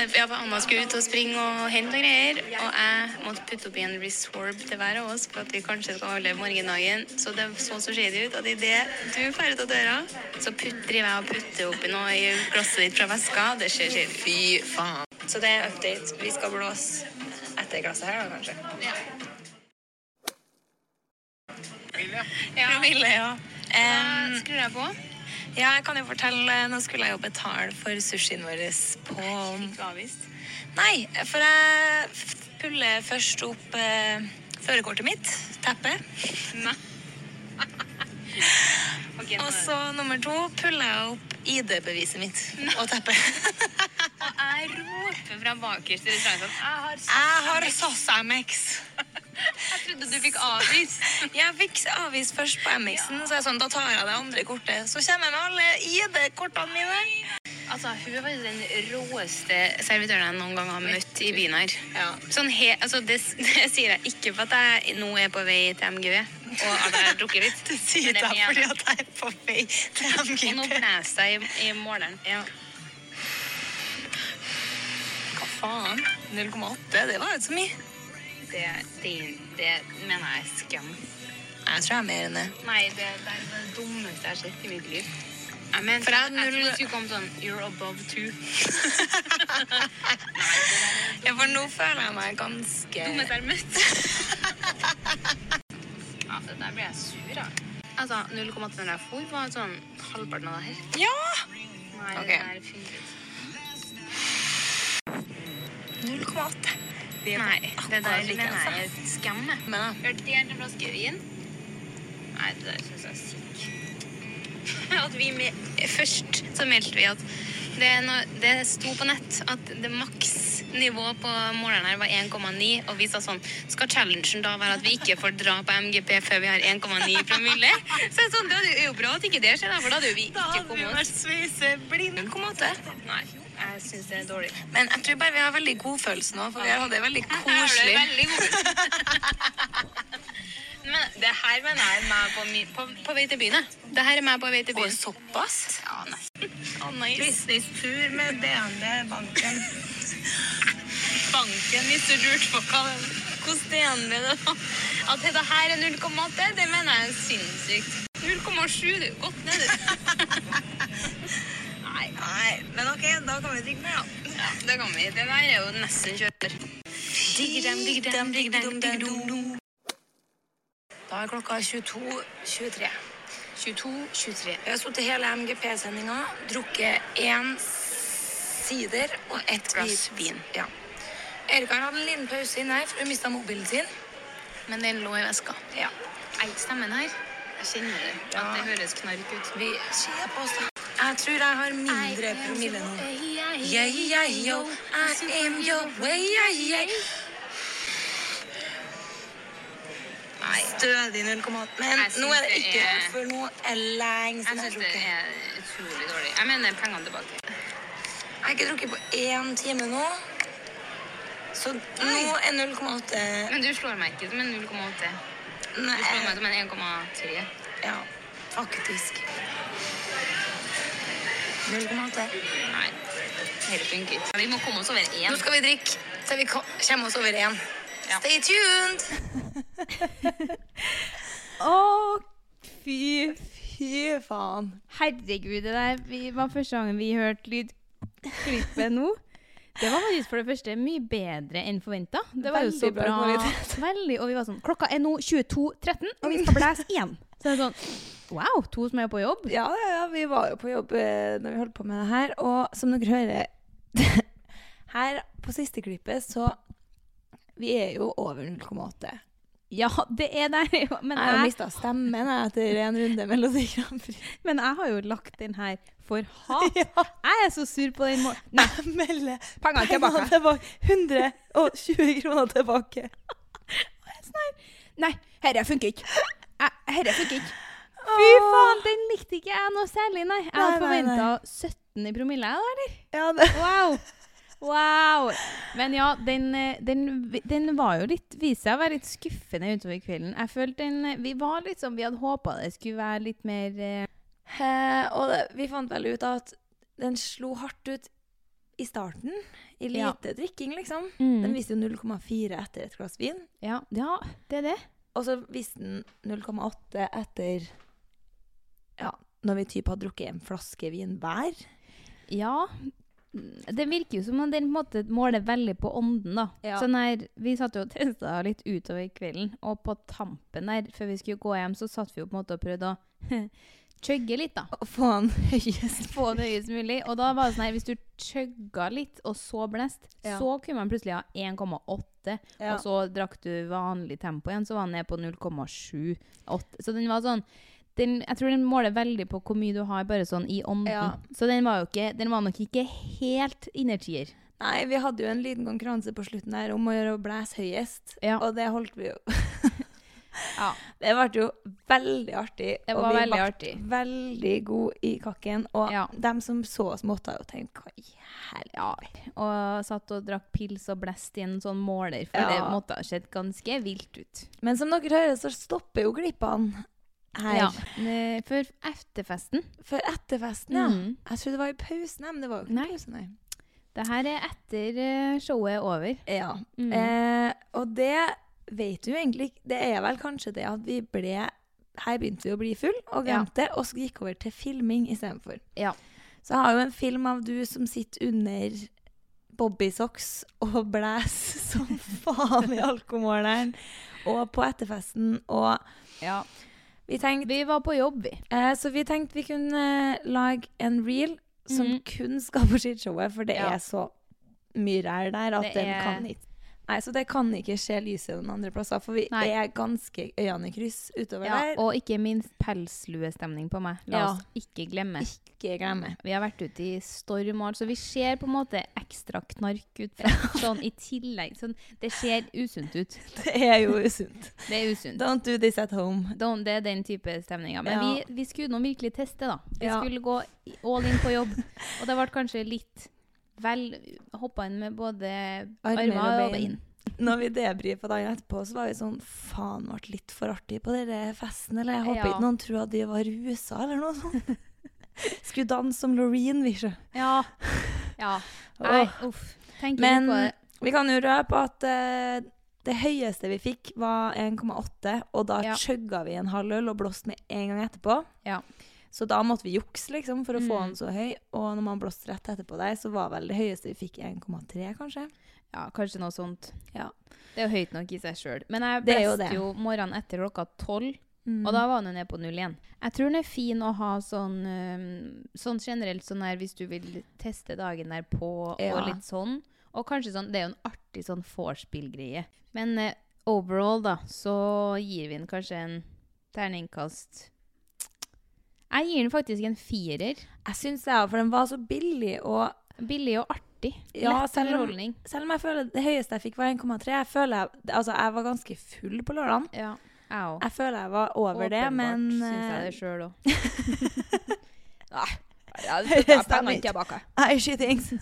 [SPEAKER 3] Jeg var Anna skulle ut og springe og hente og greier, og jeg måtte putte opp i en resorb til hver av oss for at vi kanskje skal overleve morgendagen. Så det så så shady ut at idet du drar ut av døra, så putt, driver jeg og putter oppi noe i glasset ditt fra veska. Det ser shady ut. Fy faen.
[SPEAKER 5] Så det er update. Vi skal blåse etter glasset her, da, kanskje.
[SPEAKER 3] Ja. Fra Ville, ja. Um, Skrur jeg på?
[SPEAKER 5] Ja, jeg kan jo fortelle Nå skulle jeg jo betale for sushien vår på Nei, for jeg f- puller først opp eh, førerkortet mitt, teppet. og så nummer to puller jeg opp ID-beviset mitt og teppet.
[SPEAKER 3] Og jeg roper fra bakerste restaurant at jeg har
[SPEAKER 5] Jeg har sassa MX.
[SPEAKER 3] Jeg trodde du fikk avvist.
[SPEAKER 5] jeg fikk avvist først på MX-en, så jeg sånn, da tar jeg det andre kortet. Så kommer jeg med alle ID-kortene mine.
[SPEAKER 3] Altså, Hun var den råeste servitøren jeg noen gang har møtt i byen her. Sånn he, altså, det, s- det sier jeg ikke for at jeg nå er på vei til MGV og at jeg har drukket litt. Det
[SPEAKER 5] sier jeg fordi at jeg er på vei til MGP.
[SPEAKER 3] Og nå blåser jeg i, i måleren.
[SPEAKER 5] Hva faen? 0,8? Det var jo ikke så mye.
[SPEAKER 3] Det, det, det mener jeg er skam.
[SPEAKER 5] Jeg tror jeg er mer enn det.
[SPEAKER 3] Nei, det, det er det dummeste jeg har sett i mitt liv. Jeg mente, jeg, jeg trodde det skulle komme sånn You're above two.
[SPEAKER 5] Ja, for nå føler jeg meg ganske
[SPEAKER 3] Dummeste jeg har møtt. ja, det der blir jeg sur av. Altså, 0,8 når jeg for, var sånn halvparten av det her.
[SPEAKER 5] Ja!
[SPEAKER 3] Nei,
[SPEAKER 5] Ok.
[SPEAKER 3] det der finner ut.
[SPEAKER 5] 0,8. Vi er på
[SPEAKER 3] Nei, det
[SPEAKER 5] akkurat
[SPEAKER 3] der
[SPEAKER 5] like,
[SPEAKER 3] mener jeg er
[SPEAKER 5] altså.
[SPEAKER 3] et skam. jeg. Hørte de gjerne flaske vin? Nei, det der synes jeg er sykt. At vi med, først så meldte vi at det, er noe- det sto på nett at det maks nivå på måleren her var 1,9, og vi sa sånn Skal challengen da være at vi ikke får dra på MGP før vi har 1,9 promille? Så jeg er sånn, det er jo bra at ikke det skjer, da, for da hadde jo vi ikke kommet oss.
[SPEAKER 5] sveiseblind. 0,8.
[SPEAKER 3] Nei, jeg syns det er dårlig.
[SPEAKER 5] Men jeg tror bare vi har veldig god følelse nå, for vi har hatt det veldig koselig.
[SPEAKER 3] Her har du veldig god- Men det her mener jeg er meg på, mi- på, på vei til byen. jeg. Det her er meg på vei til byen.
[SPEAKER 5] såpass?
[SPEAKER 3] Ja, nesten. Oh,
[SPEAKER 5] Business-tur med DNB banken.
[SPEAKER 3] Banken, hvis du lurte på hva det hvordan DNB det var. At det her er 0,8, det mener jeg er sinnssykt. 0,7, du. Godt ned, du. Nei.
[SPEAKER 5] Nei, men ok, da kan vi drikke mer, da.
[SPEAKER 3] Ja, det kan vi. Det der er jo nesten kjøper. Digger dem, digger dem, digger dem, digger dem.
[SPEAKER 5] Da er klokka 22.23. 22.23. Vi har sittet hele MGP-sendinga, drukket én sider og ett
[SPEAKER 3] glass vin.
[SPEAKER 5] Ja. Erika har hatt en liten pause inne her, for hun mista mobilen sin.
[SPEAKER 3] Men den lå i veska.
[SPEAKER 5] Ja.
[SPEAKER 3] Ei, stemmen her. Jeg kjenner det. At det høres knark ut.
[SPEAKER 5] Vi ser på oss, da. Jeg tror jeg har mindre promille nå. Yeah, yeah, yo, I am your way, yeah, yeah. Nei. Stødig 0,8. Men
[SPEAKER 3] Jeg
[SPEAKER 5] nå
[SPEAKER 3] synes
[SPEAKER 5] er det
[SPEAKER 3] det
[SPEAKER 5] ikke
[SPEAKER 3] er-
[SPEAKER 5] rett, for nå er det lenge siden jeg
[SPEAKER 3] Jeg syns
[SPEAKER 5] har
[SPEAKER 3] det
[SPEAKER 5] drukket.
[SPEAKER 3] er utrolig dårlig. Jeg mener pengene tilbake.
[SPEAKER 5] Jeg har ikke drukket på én time nå. Så nå er 0,8
[SPEAKER 3] Men du slår meg ikke som en 0,8. Du
[SPEAKER 5] Nei.
[SPEAKER 3] slår meg som en 1,3.
[SPEAKER 5] Ja, faktisk. 0,8.
[SPEAKER 3] Nei. Dette funker ikke. Vi må komme oss over én.
[SPEAKER 5] Nå skal vi drikke til vi ko- kommer oss over én. Stay tuned!
[SPEAKER 9] Å, fy, fy faen.
[SPEAKER 8] Herregud, det der vi, var første gangen vi hørte lydklippet nå. Det var faktisk for det første mye bedre enn forventa. Det var jo så
[SPEAKER 9] Veldig bra
[SPEAKER 8] bra.
[SPEAKER 9] kvalitet.
[SPEAKER 8] Veldig, og vi var sånn Klokka er nå 22.13, og vi skal blæse igjen. Så det er sånn Wow, to som er på jobb.
[SPEAKER 9] Ja, ja, ja, vi var jo på jobb eh, når vi holdt på med det her, og som dere hører Her på siste klippet, så Vi er jo over 0,8.
[SPEAKER 4] Ja, det er der jo Men
[SPEAKER 3] Jeg har mistet stemmen jeg, etter en runde Melodi Grand Prix.
[SPEAKER 4] Men jeg har jo lagt den her for hat. Jeg er så sur på den måten. Nei,
[SPEAKER 3] melder
[SPEAKER 4] pengene tilbake.
[SPEAKER 3] 120 kroner tilbake.
[SPEAKER 4] sånn Nei, herre funker ikke. Jeg- Herre funker ikke. Fy faen, den likte ikke jeg noe særlig, nei. Jeg hadde
[SPEAKER 3] Nei, nei, nei.
[SPEAKER 4] forventa 17 i promille, jeg da, eller?
[SPEAKER 3] Ja, det.
[SPEAKER 4] Wow. Wow. Men ja, den, eh, den, den var jo litt Viste seg å være litt skuffende utover kvelden. Jeg følte den eh, Vi var litt sånn Vi hadde håpa det skulle være litt mer eh,
[SPEAKER 3] Eh, og det, vi fant vel ut at den slo hardt ut i starten. I
[SPEAKER 4] Ja.
[SPEAKER 3] lite drikking, liksom.
[SPEAKER 4] Mm.
[SPEAKER 3] Den viste jo 0,4 etter et glass vin.
[SPEAKER 4] ja, ja, det er det.
[SPEAKER 3] Og så viste den 0,8 etter Ja, når vi typ har drukket en flaske vin hver.
[SPEAKER 4] Ja. Det virker jo som om den på en måte måler veldig på ånden, da.
[SPEAKER 3] Ja.
[SPEAKER 4] Sånn her, vi satt jo og testa litt utover kvelden, og på tampen der, før vi skulle gå hjem, så satt vi jo på en måte og prøvde å chugge litt, da.
[SPEAKER 3] Og få den høyest.
[SPEAKER 4] Få det høyest mulig. Og da var det sånn her, hvis du chugga litt, og så blest,
[SPEAKER 3] Ja.
[SPEAKER 4] så kunne man plutselig ha 1,8.
[SPEAKER 3] Ja.
[SPEAKER 4] Og så drakk du vanlig tempo igjen, så var den ned på 0,78. Så den var sånn den, jeg tror den måler veldig på hvor mye du har bare sånn i ånden.
[SPEAKER 3] Ja.
[SPEAKER 4] Så den var, jo ikke, den var nok ikke helt innertier.
[SPEAKER 3] Nei, vi hadde jo en liten konkurranse på slutten her om å gjøre å blæse høyest,
[SPEAKER 4] Ja.
[SPEAKER 3] og det holdt vi jo.
[SPEAKER 4] Ja.
[SPEAKER 3] Det ble jo veldig artig,
[SPEAKER 4] Det
[SPEAKER 3] og
[SPEAKER 4] var
[SPEAKER 3] vi
[SPEAKER 4] veldig
[SPEAKER 3] ble
[SPEAKER 4] artig.
[SPEAKER 3] veldig gode i kakken. Og
[SPEAKER 4] Ja.
[SPEAKER 3] dem som så oss, måtte ha jo tenkt hva i helvete.
[SPEAKER 4] Ja, og satt og drakk pils og blest i en sånn måler, for
[SPEAKER 3] Ja.
[SPEAKER 4] det måtte ha sett ganske vilt ut.
[SPEAKER 3] Men som dere hører, så stopper jo glippene her.
[SPEAKER 4] Ja. eh, Før efterfesten.
[SPEAKER 3] For etterfesten, ja.
[SPEAKER 4] Mm.
[SPEAKER 3] Jeg trodde det var i pausen, nei, men det var jo ikke
[SPEAKER 4] Nei.
[SPEAKER 3] i pausen. Nei.
[SPEAKER 4] Det her er etter eh, showet er over.
[SPEAKER 3] Ja.
[SPEAKER 4] Mm.
[SPEAKER 3] Eh, og det vet du jo egentlig ikke. Det er vel kanskje det at vi ble Her begynte vi å bli full og
[SPEAKER 4] Ja.
[SPEAKER 3] glemte det, og så gikk over til filming istedenfor.
[SPEAKER 4] Ja.
[SPEAKER 3] Så jeg har jo en film av du som sitter under Bobbysocks og blæser som faen i alkomåleren, og på etterfesten, og
[SPEAKER 4] ja.
[SPEAKER 3] vi tenkte
[SPEAKER 4] Vi var på jobb, vi.
[SPEAKER 3] Eh, så vi tenkte vi kunne eh, lage en reel som
[SPEAKER 4] Mhm.
[SPEAKER 3] kun skal på skishowet, for det
[SPEAKER 4] Ja.
[SPEAKER 3] er så mye ræl der at
[SPEAKER 4] Det
[SPEAKER 3] den
[SPEAKER 4] er-
[SPEAKER 3] kan ikke Nei, Så det kan ikke se lyset noen andre plasser, for vi
[SPEAKER 4] Nei.
[SPEAKER 3] er ganske øyene i kryss utover
[SPEAKER 4] Ja,
[SPEAKER 3] der.
[SPEAKER 4] og ikke minst pelsluestemning på meg. La
[SPEAKER 3] Ja.
[SPEAKER 4] oss ikke glemme.
[SPEAKER 3] Ikke glemme.
[SPEAKER 4] Vi har vært ute i storm og alt, så vi ser på en måte ekstra knark ut fra sånn i tillegg. Sånn, det ser usunt ut.
[SPEAKER 3] Det er jo usunt.
[SPEAKER 4] Det er usunt.
[SPEAKER 3] Don't do this at home.
[SPEAKER 4] Don't- det er den type stemninger. Men
[SPEAKER 3] Ja.
[SPEAKER 4] vi, vi skulle nå virkelig teste, da. Vi
[SPEAKER 3] Ja.
[SPEAKER 4] skulle gå i- all in på jobb. Og det ble kanskje litt vel hoppa inn med både
[SPEAKER 3] Armer og
[SPEAKER 4] armer og
[SPEAKER 3] bein.
[SPEAKER 4] bein.
[SPEAKER 3] Når vi debrifa dagen etterpå, så var vi sånn Faen, ble litt for artig på denne festen, eller? Jeg håper
[SPEAKER 4] Ja.
[SPEAKER 3] ikke noen tror at vi var rusa, eller noe sånt. Skulle danse som Loreen, vi, sjø.
[SPEAKER 4] Ja. ja. Nei, uff. Tenker litt på
[SPEAKER 3] Men
[SPEAKER 4] det.
[SPEAKER 3] vi kan jo røpe at eh, det høyeste vi fikk, var 1,8. Og da
[SPEAKER 4] Ja.
[SPEAKER 3] chugga vi en halv øl og blåste med en gang etterpå.
[SPEAKER 4] Ja.
[SPEAKER 3] Så da måtte vi jukse liksom, for å få
[SPEAKER 4] Mm.
[SPEAKER 3] den så høy. Og når man blåste rett etterpå der, så var vel det høyeste vi fikk 1,3, kanskje.
[SPEAKER 4] Ja, kanskje noe sånt.
[SPEAKER 3] Ja.
[SPEAKER 4] Det er jo høyt nok i seg sjøl. Men jeg
[SPEAKER 3] Det er jo
[SPEAKER 4] blåste
[SPEAKER 3] det.
[SPEAKER 4] jo morgenen etter klokka tolv. Og da var den jo ned på null igjen. Jeg tror den er fin å ha sånn, øhm, sånn generelt sånn her hvis du vil teste dagen der på
[SPEAKER 3] Ja.
[SPEAKER 4] og litt sånn. Og kanskje sånn, det er jo en artig sånn vorspiel-greie. Men eh, overall da, så gir vi den kanskje en terningkast. Jeg gir den faktisk en firer.
[SPEAKER 3] Jeg syns det, ja, for den var så billig. Og
[SPEAKER 4] Billig og artig.
[SPEAKER 3] Ja,
[SPEAKER 4] Lett
[SPEAKER 3] selv om-
[SPEAKER 4] underholdning.
[SPEAKER 3] selv om jeg føler det høyeste jeg fikk, var 1,3, jeg føler jeg, altså, jeg var ganske full på lørdagen.
[SPEAKER 4] Ja, jeg også.
[SPEAKER 3] Jeg føler jeg var over det, men
[SPEAKER 4] Åpenbart syns jeg
[SPEAKER 3] eh,
[SPEAKER 4] det sjøl òg. Nei. Ja,
[SPEAKER 3] det skal jeg ta pengene tilbake. Nei, she thinks.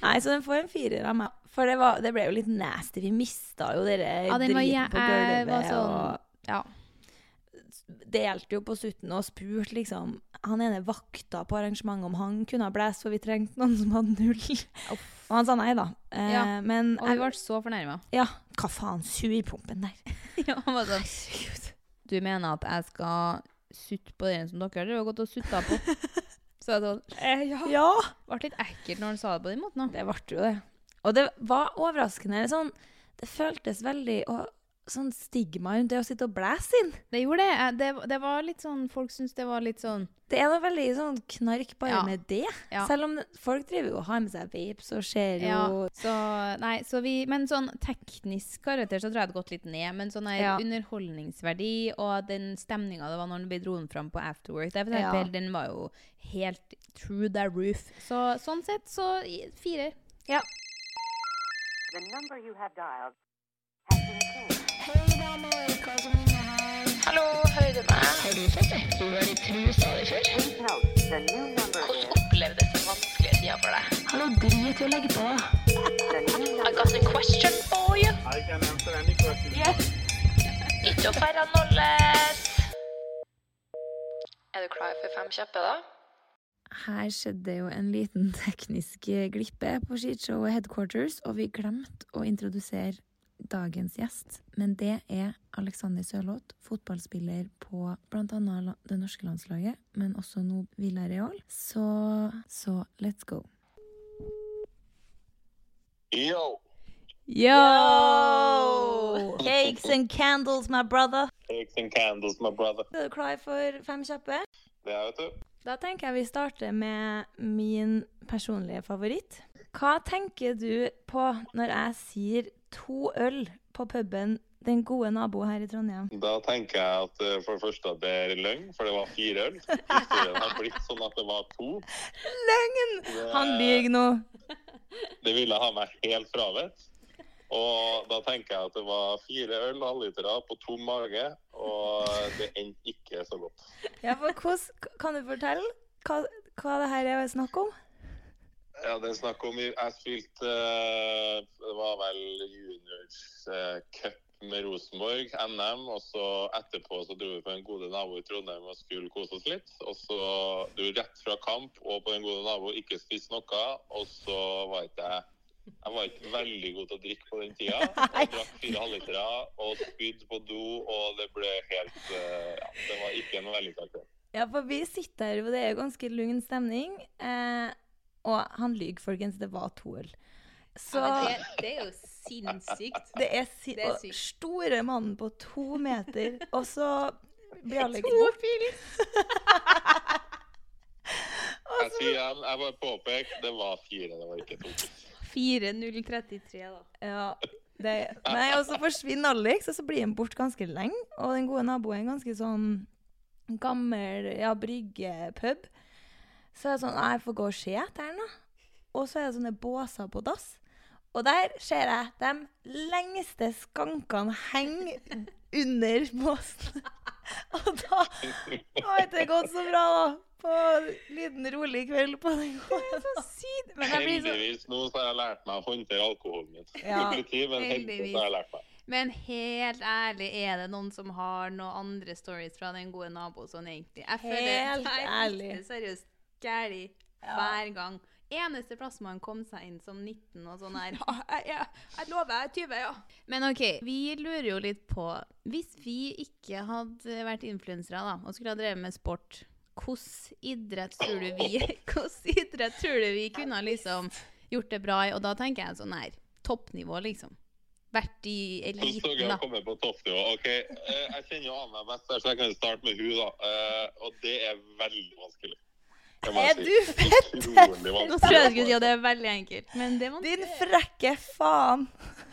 [SPEAKER 3] Nei, så den får en firer av meg. For det, var, det ble jo litt nasty. Vi mista jo dere
[SPEAKER 4] Ja, den var,
[SPEAKER 3] driten
[SPEAKER 4] jeg,
[SPEAKER 3] på
[SPEAKER 4] jeg var
[SPEAKER 3] gulvet.
[SPEAKER 4] sånn Ja.
[SPEAKER 3] Og delte jo på sutten og spurte liksom Han ene vakta på arrangementet om han kunne ha blæst, for vi trengte noen som hadde null. Og han sa nei, da. Eh,
[SPEAKER 4] Ja,
[SPEAKER 3] Men
[SPEAKER 4] Og vi
[SPEAKER 3] jeg,
[SPEAKER 4] ble så fornærma.
[SPEAKER 3] ja, hva faen, surpompen der.
[SPEAKER 4] Ja, han var sånn Du mener at jeg skal sutte på den som dere har gått og sutta på? Så jeg sånn eh, Ja.
[SPEAKER 3] Ja!
[SPEAKER 4] Ble litt ekkelt når han sa det på den måten. da.
[SPEAKER 3] Det ble jo det. Og det var overraskende sånn Det føltes veldig å, sånn stigma rundt det å sitte og blæse inn.
[SPEAKER 4] Det gjorde det. Eh, Det, det var litt sånn, Folk syntes det var litt sånn
[SPEAKER 3] Det er noe veldig sånn knark bare
[SPEAKER 4] Ja.
[SPEAKER 3] med det.
[SPEAKER 4] Ja.
[SPEAKER 3] Selv om det- folk driver jo og har med seg vapes og ser jo
[SPEAKER 4] ja, så, nei, så vi, Men sånn teknisk karakter så tror jeg det har gått litt ned. Men sånn her
[SPEAKER 3] Ja.
[SPEAKER 4] underholdningsverdi og den stemninga det var når den ble dronet fram på Afterwork, det er for
[SPEAKER 3] Ja.
[SPEAKER 4] eksempel, den var jo helt through the roof. Så sånn sett så i- firer.
[SPEAKER 3] Ja.
[SPEAKER 10] The number you have dialed.
[SPEAKER 1] Hallo, hører du meg? Har du sett det? Du har i trusa di før. Hvordan opplevdes den vanskelige tida for deg? Hallo, drit i å legge på deg. I got a question for you. I can answer any question. Yes. Ikke å færre nolles. Er du klar for fem kjappe, da?
[SPEAKER 3] Her skjedde jo en liten teknisk glippe på Skishow Headquarters, og vi glemte å introdusere dagens gjest. Men det er Alexander Sørloth, fotballspiller på bl.a. det norske landslaget, men også nå Villareal. Så, så let's go.
[SPEAKER 11] Yo,
[SPEAKER 3] Yo! Cakes and candles, my brother.
[SPEAKER 11] cakes and candles, my brother.
[SPEAKER 3] Er du klar for fem kjappe?
[SPEAKER 11] Det er, vet du.
[SPEAKER 3] Da tenker jeg vi starter med min personlige favoritt. Hva tenker du på når jeg sier to øl på puben Den gode nabo her i Trondheim?
[SPEAKER 11] Da tenker jeg at eh, for det første at det er løgn, for det var fire øl. Historien har blitt sånn at det var to.
[SPEAKER 3] Løgn!
[SPEAKER 11] Det-
[SPEAKER 3] Han lyver nå.
[SPEAKER 11] Det ville ha meg helt frabedt. Og da tenker jeg at det var fire øl, halvlitere, på tom mage, og det endte ikke så godt.
[SPEAKER 3] Ja, for hvordan, kan du fortelle hva, hva det her er snakk om?
[SPEAKER 11] Ja, det er snakk om Jeg spilte eh, Det var vel juniors-cup med Rosenborg, NM. Og så etterpå så dro vi på en gode nabo i Trondheim og skulle kose oss litt. Og så dro vi rett fra kamp og på en gode nabo, ikke spiste noe. Og så var ikke jeg jeg var ikke veldig god til å drikke på den tida. Jeg drakk fire halvlitere og spydde på do, og det ble helt eh, Ja, det var ikke en vellykka kveld.
[SPEAKER 3] Ja, for vi sitter her, og det er jo ganske lugn stemning. Eh, og han lyver, folkens. Det var to øl. Så
[SPEAKER 5] Ja, men det, det er jo sinnssykt.
[SPEAKER 3] Det er, si
[SPEAKER 5] Det er
[SPEAKER 3] og
[SPEAKER 5] sykt.
[SPEAKER 3] store mannen på to meter, og så blir Alex
[SPEAKER 5] To
[SPEAKER 3] bort.
[SPEAKER 11] Jeg sier igjen, jeg bare påpeker, det var fire, det var ikke to.
[SPEAKER 5] 4033, da.
[SPEAKER 3] Ja, det, nei, og så forsvinner Alex, og så blir han borte ganske lenge. Og den gode naboen er en ganske sånn gammel ja, bryggepub. Så er det sånn «Nei, Jeg får gå og se etter den, da. Og så er det sånne båser på dass. Og der ser jeg de lengste skankene henge under båsen. Og da Å, vet du, det gått så bra, da. På en liten, rolig kveld på den gården. Så sykt. Men jeg blir så
[SPEAKER 11] Heldigvis nå så har jeg lært meg å håndtere alkoholen min.
[SPEAKER 5] Ja,
[SPEAKER 11] Ikke tid, men heldigvis så har jeg lært meg.
[SPEAKER 5] Men helt ærlig, er det noen som har noen andre stories fra den gode naboen sånn egentlig? Jeg føler
[SPEAKER 3] Helt
[SPEAKER 5] det er
[SPEAKER 3] ærlig.
[SPEAKER 5] riktig seriøst gæli hver gang. Eneste plass man kom seg inn som 19 og sånn her. Ja, jeg, jeg, jeg lover, jeg er 20, ja. Men OK, vi lurer jo litt på Hvis vi ikke hadde vært influensere da, og skulle ha drevet med sport, hvordan idrett tror du vi, hvordan idrett tror du vi kunne ha liksom gjort det bra i? Og da tenker jeg sånn her toppnivå, liksom. Vært i
[SPEAKER 11] Så så jeg
[SPEAKER 5] eliten,
[SPEAKER 11] å
[SPEAKER 5] da.
[SPEAKER 11] komme på toppnivå. Ok, eh, Jeg kjenner jo Anna best, her, så jeg kan starte med hun da. Eh, Og det er veldig vanskelig. Det må jeg
[SPEAKER 5] Er
[SPEAKER 11] si.
[SPEAKER 5] du fett?
[SPEAKER 11] Utrolig vanskelig.
[SPEAKER 5] Nå tror jeg jeg skulle si at det er veldig enkelt, men det var
[SPEAKER 3] Din frekke faen!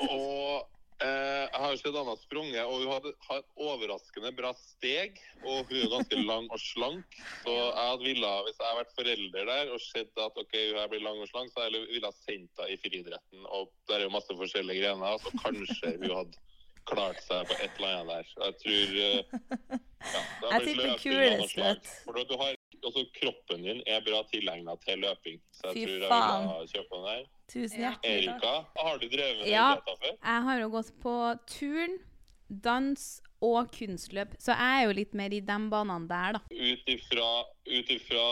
[SPEAKER 11] Og eh, jeg har sett Anna sprunge, og hun hadde, har et overraskende bra steg. Og hun er jo ganske lang og slank, så jeg hadde ville, hvis jeg hadde vært forelder der og sett at ok, hun her blir lang og slank, så jeg ville ha sendt henne i friidretten. Og der er jo masse forskjellige grener, så kanskje hun hadde klart seg på et eller annet der. Jeg tror eh, ja, det har
[SPEAKER 3] Jeg
[SPEAKER 11] blitt løping
[SPEAKER 3] tipper
[SPEAKER 11] av noe slag.
[SPEAKER 3] kuleslett.
[SPEAKER 11] For at du har, også kroppen din er bra tilegna til løping, så
[SPEAKER 3] Fy
[SPEAKER 11] jeg tror jeg
[SPEAKER 3] faen.
[SPEAKER 11] ville ha kjøpt den der.
[SPEAKER 3] Tusen hjertelig takk.
[SPEAKER 11] Erika, har du drevet med
[SPEAKER 5] Ja,
[SPEAKER 11] idretter før?
[SPEAKER 5] jeg har jo gått på turn, dans og kunstløp, så jeg er jo litt mer i de banene der, da.
[SPEAKER 11] Ut ifra, ut ifra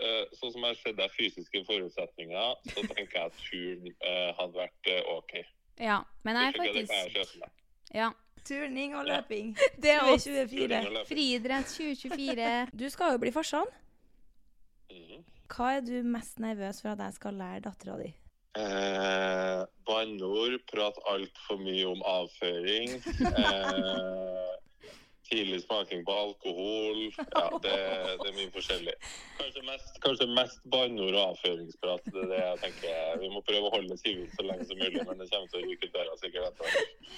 [SPEAKER 11] eh, sånn som jeg har sett deg fysiske forutsetninger, så tenker jeg at turn eh, hadde vært eh, OK.
[SPEAKER 5] Ja, men jeg er
[SPEAKER 11] Ikke det kan jeg
[SPEAKER 5] faktisk
[SPEAKER 11] kjøpe meg.
[SPEAKER 5] ja.
[SPEAKER 3] Turning og løping.
[SPEAKER 5] Det er oss.
[SPEAKER 3] 2024.
[SPEAKER 5] Friidrett 2024.
[SPEAKER 3] Du skal jo bli
[SPEAKER 11] Mhm.
[SPEAKER 3] farsan. Hva er du mest nervøs for at jeg skal lære dattera di?
[SPEAKER 11] Eh, Banneord, prat altfor mye om avføring. Eh, tidlig smaking på alkohol. Ja, det, det er mye forskjellig. Kanskje mest, kanskje mest banneord og avføringsprat. Det er det jeg tenker. Vi må prøve å holde det sivilt så lenge som mulig, men det kommer til å ryke ut døra sikkert etter hvert.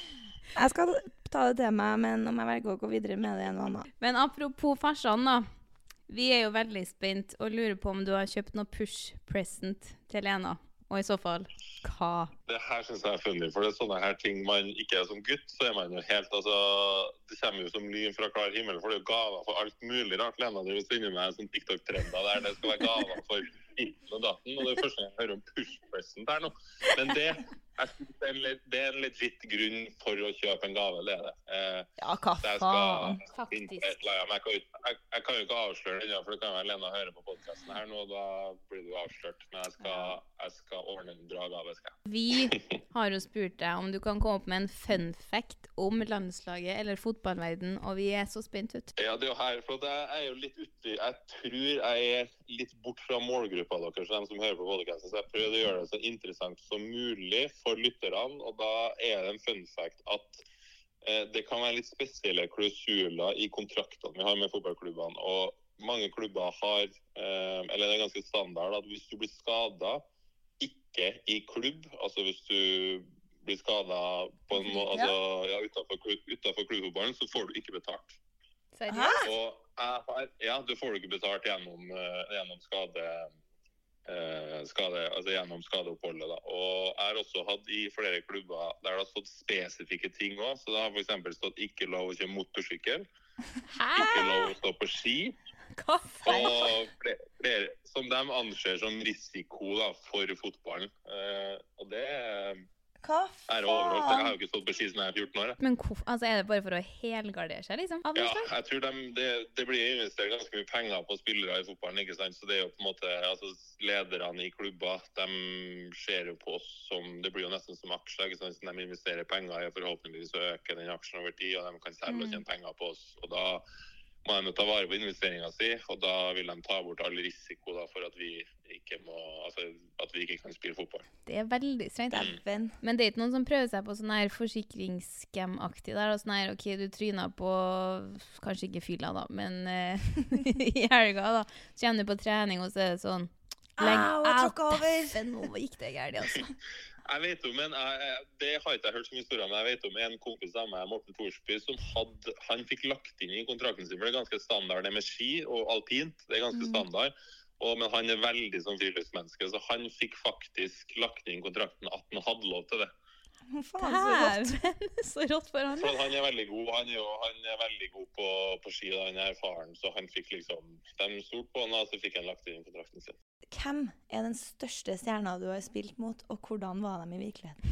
[SPEAKER 3] Jeg skal ta det til meg, men om jeg velger å gå videre med det en annen
[SPEAKER 5] Men apropos farsan, da. Vi er jo veldig spent og lurer på om du har kjøpt noe push present til Lena. Og i så fall, hva?
[SPEAKER 11] Det her synes jeg er funny, for det er sånne her ting man ikke er som gutt, så er man jo helt altså Det kommer jo som lyn fra klar himmel, for det er jo gaver for alt mulig rart. Lena driver og sender meg en sånn TikTok-trender der det skal være gaver for itten og datten, og det er første gang jeg hører om push-present her nå. Men det, jeg synes det, er en, le- det er en legit grunn for å kjøpe en gave, det er det. Eh,
[SPEAKER 3] Ja, hva
[SPEAKER 11] så jeg
[SPEAKER 3] faen?
[SPEAKER 11] skal finne på et eller annet, men Jeg kan, jo ikke- jeg, jeg kan jo ikke avsløre det, ennå, for det kan være Lena hører på podkasten her nå, og da blir du avslørt. Men jeg skal, jeg skal ordne en bra gave, skal jeg.
[SPEAKER 5] Vi har jo spurt deg om du kan komme opp med en fun fact om landslaget eller fotballverden, og vi er så spent, vet du.
[SPEAKER 11] Ja, det er jo her, for at jeg er jo litt uti Jeg tror jeg er litt bort fra målgruppa deres, de som hører på podcasten, så jeg prøvde å gjøre det så interessant som mulig for lytterne. Og da er det en fun fact at eh, det kan være litt spesielle klausuler i kontraktene vi har med fotballklubbene. Og mange klubber har, eh, eller det er ganske standard, at hvis du blir skada ikke i klubb, altså hvis du blir skada altså, ja, utenfor, klubb, utenfor klubbfotballen, så får du ikke betalt. Og jeg har, ja, du får jo ikke betalt gjennom, eh, gjennom skade... eh, skade, altså gjennom skadeoppholdet. Da. Og jeg har også hatt i flere klubber der det har stått spesifikke ting òg. Så det har f.eks. stått 'ikke lov å kjøre motorsykkel', 'ikke lov å stå på ski'.
[SPEAKER 5] Hva
[SPEAKER 11] Og flere, flere, som de anser som risiko da, for fotballen. Eh, og det er
[SPEAKER 3] Hva
[SPEAKER 11] er overalt. Jeg har jo ikke stått på ski siden jeg er 14 år. jeg.
[SPEAKER 5] Men hvorf- altså, er det bare for å helgardere seg, liksom? Av
[SPEAKER 11] Ja,
[SPEAKER 5] landslag?
[SPEAKER 11] jeg tror de, det, det blir investert ganske mye penger på spillere i fotballen. ikke sant? Så det er jo på en måte, altså Lederne i klubber de ser jo på oss som Det blir jo nesten som aksjer. ikke sant? Så De investerer penger i og forhåpentligvis å øke den aksjen over tid, og de kan
[SPEAKER 5] Mm.
[SPEAKER 11] selge og tjene penger på oss. og Da må de jo ta vare på investeringa si, og da vil de ta bort all risiko da, for at vi ikke må, altså at vi ikke kan spille fotball. Mm.
[SPEAKER 5] Det er veldig strengt.
[SPEAKER 3] Dæven.
[SPEAKER 5] Men det er ikke noen som prøver seg på sånn her forsikringsscam-aktig der? og Sånn her, OK, du tryna på Kanskje ikke fylla, da, men eh, i helga, da. Så kommer du på trening, og så er det sånn
[SPEAKER 3] Au, jeg tråkka over.
[SPEAKER 5] dæven, nå gikk det galt, altså.
[SPEAKER 11] Jeg vet om en, jeg, jeg- det har ikke jeg hørt så mye historier om, men jeg vet om en kompis av meg, Morten Thorsby, som hadde, han fikk lagt inn i kontrakten sin, for det er ganske standard det med ski og alpint, det er ganske
[SPEAKER 2] Mm.
[SPEAKER 11] standard. Og, men han er veldig som friluftsmenneske, så han fikk faktisk lagt inn i kontrakten at han hadde lov til det.
[SPEAKER 3] Faen, så rått.
[SPEAKER 5] Dæven, så rått for han.
[SPEAKER 11] For at han er veldig god, han er, jo- han er veldig god på, på ski, da. han er erfaren, så han fikk liksom, de stolte på han, og så fikk han lagt inn i kontrakten sin.
[SPEAKER 3] Hvem er den største stjerna du har spilt mot, og hvordan var de i virkeligheten?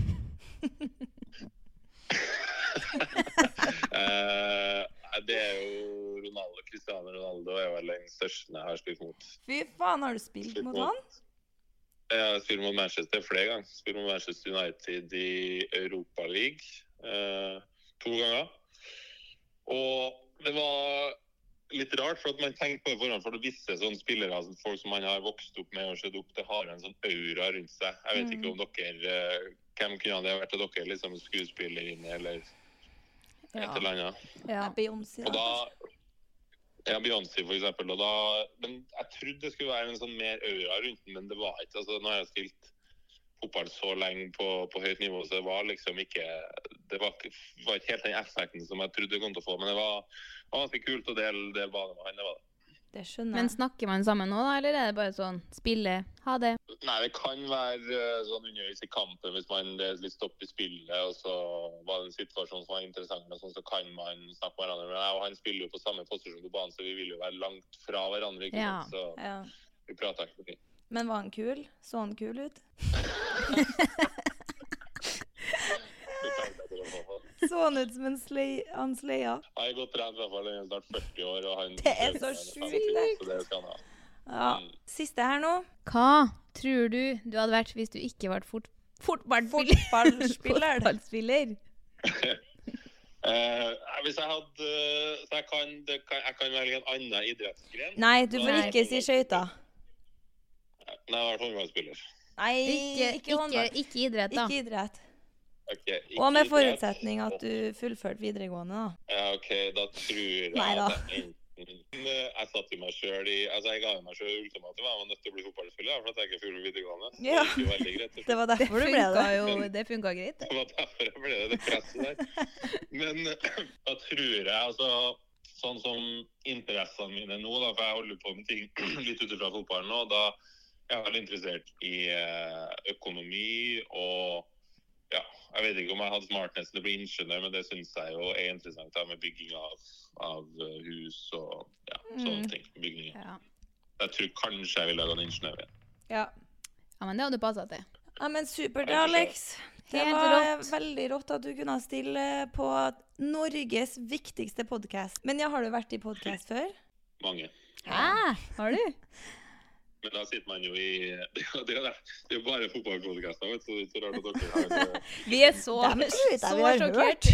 [SPEAKER 11] Eh, det er jo Ronaldo, Cristiano Ronaldo er vel den største jeg har spilt mot.
[SPEAKER 3] Fy faen, har du spilt
[SPEAKER 11] Spilt
[SPEAKER 3] mot
[SPEAKER 11] mot-
[SPEAKER 3] han?
[SPEAKER 11] Jeg har spilt mot Manchester flere ganger. Spilt mot Manchester United i Europa League eh, to ganger. Og det var litt rart, for at man tenker på det forhånd, for det visse sånne spillere, altså folk som man har vokst opp med og sett opp til, har en sånn aura rundt seg. Jeg vet ikke om dere eh, Hvem kunne det ha vært av dere? Liksom skuespillerinne eller et eller annet?
[SPEAKER 3] Ja. Beyoncé.
[SPEAKER 11] Og da ja, Beyoncé for eksempel. Og da, men jeg trodde det skulle være en sånn mer aura rundt den, men det var ikke. Altså, nå har jeg spilt fotball så lenge på, på høyt nivå, så det var liksom ikke Det var ikke, var ikke helt den effekten som jeg trodde det kom til å få. Men det var, det var ganske kult å dele det banet med han. det var det.
[SPEAKER 3] Det skjønner
[SPEAKER 5] Men snakker man sammen nå, da, eller er det bare sånn spille, ha det?
[SPEAKER 11] Nei, det kan være eh, sånn underveis i kampen hvis man det er litt stopp i spillet, og så var det en situasjon som var interessant, og sånn, så kan man snakke med hverandre. Men jeg og han spiller jo på samme posisjon på banen, så vi vil jo være langt fra hverandre. ikke
[SPEAKER 3] Ja.
[SPEAKER 11] sant? Så
[SPEAKER 3] Ja.
[SPEAKER 11] vi prata ikke mye.
[SPEAKER 3] Men var han kul? Så han kul ut? så han ut som en slei, han sleia?
[SPEAKER 11] Han er godt trent, i hvert fall. Han er snart 40 år. Og han
[SPEAKER 3] Det er så sjukt.
[SPEAKER 11] Så det skal han ha.
[SPEAKER 3] Ja. Siste her nå.
[SPEAKER 5] Hva tror du du hadde vært hvis du ikke ble fort fotballspiller?
[SPEAKER 3] Fotballspiller.
[SPEAKER 5] Fotballspiller.
[SPEAKER 11] Eh, hvis jeg hadde eh, så jeg kan, det kan, jeg kan velge en annen idrettsgren.
[SPEAKER 3] Nei, du får ikke si skøyter.
[SPEAKER 11] Nei, jeg har vært håndballspiller.
[SPEAKER 3] Nei,
[SPEAKER 4] Ikke-
[SPEAKER 3] ikke,
[SPEAKER 4] ikke-
[SPEAKER 3] håndball.
[SPEAKER 4] ikke idrett, da.
[SPEAKER 3] Ikke idrett.
[SPEAKER 11] Ok, ikke
[SPEAKER 3] Og med
[SPEAKER 11] idrett.
[SPEAKER 3] forutsetning at du fullførte videregående, da.
[SPEAKER 11] Ja, OK, da tror jeg
[SPEAKER 3] Neida.
[SPEAKER 11] at jeg enten eh, Jeg satte meg sjøl i Altså, jeg ga meg sjøl ultimatum. Jeg var nødt til å bli fotballspiller for at jeg ikke fulgte videregående. Så
[SPEAKER 3] Ja.
[SPEAKER 11] Det gikk jo veldig greit. til
[SPEAKER 3] Det var derfor du ble det.
[SPEAKER 11] funka jo-
[SPEAKER 4] det funka greit.
[SPEAKER 11] Det var derfor jeg ble det presset der. Men da tror jeg altså Sånn som interessene mine nå, da, for jeg holder på med ting litt ut fra fotballen nå, da jeg er veldig interessert i eh, økonomi og ja, jeg vet ikke om jeg hadde smartnessen til å bli ingeniør, men det syns jeg jo er interessant da, med bygging av, av eh, hus og ja, sånne
[SPEAKER 4] Mm.
[SPEAKER 11] ting. Bygninger.
[SPEAKER 4] Ja.
[SPEAKER 11] Jeg tror kanskje jeg ville ha gått ingeniør. ja.
[SPEAKER 3] Ja.
[SPEAKER 4] ja, men det hadde du passa til.
[SPEAKER 3] Ja, men supert, Alex. Det
[SPEAKER 4] Helt
[SPEAKER 3] var
[SPEAKER 4] rått.
[SPEAKER 3] veldig rått at du kunne stille på Norges viktigste podkast. Men ja, har du vært i podkast før?
[SPEAKER 11] Mange.
[SPEAKER 3] Hæ? Har du?
[SPEAKER 11] Men da sitter man jo i Det er jo det er jo- det er jo bare fotballpodkaster, vet du. Så det er så rart at dere har det.
[SPEAKER 4] Vi er så,
[SPEAKER 3] Dem er sjukt,
[SPEAKER 4] så
[SPEAKER 3] vi har
[SPEAKER 4] sjokkert. Vi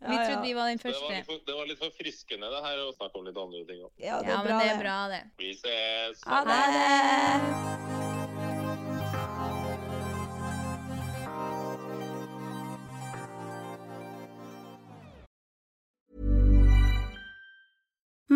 [SPEAKER 3] Ja, ja.
[SPEAKER 4] trodde vi var den
[SPEAKER 11] Det var, litt
[SPEAKER 4] første.
[SPEAKER 11] for, det var litt forfriskende det her å snakke om litt andre ting òg.
[SPEAKER 3] Ja,
[SPEAKER 4] Ja, men det er bra, det.
[SPEAKER 11] Vi ses.
[SPEAKER 3] Ha det.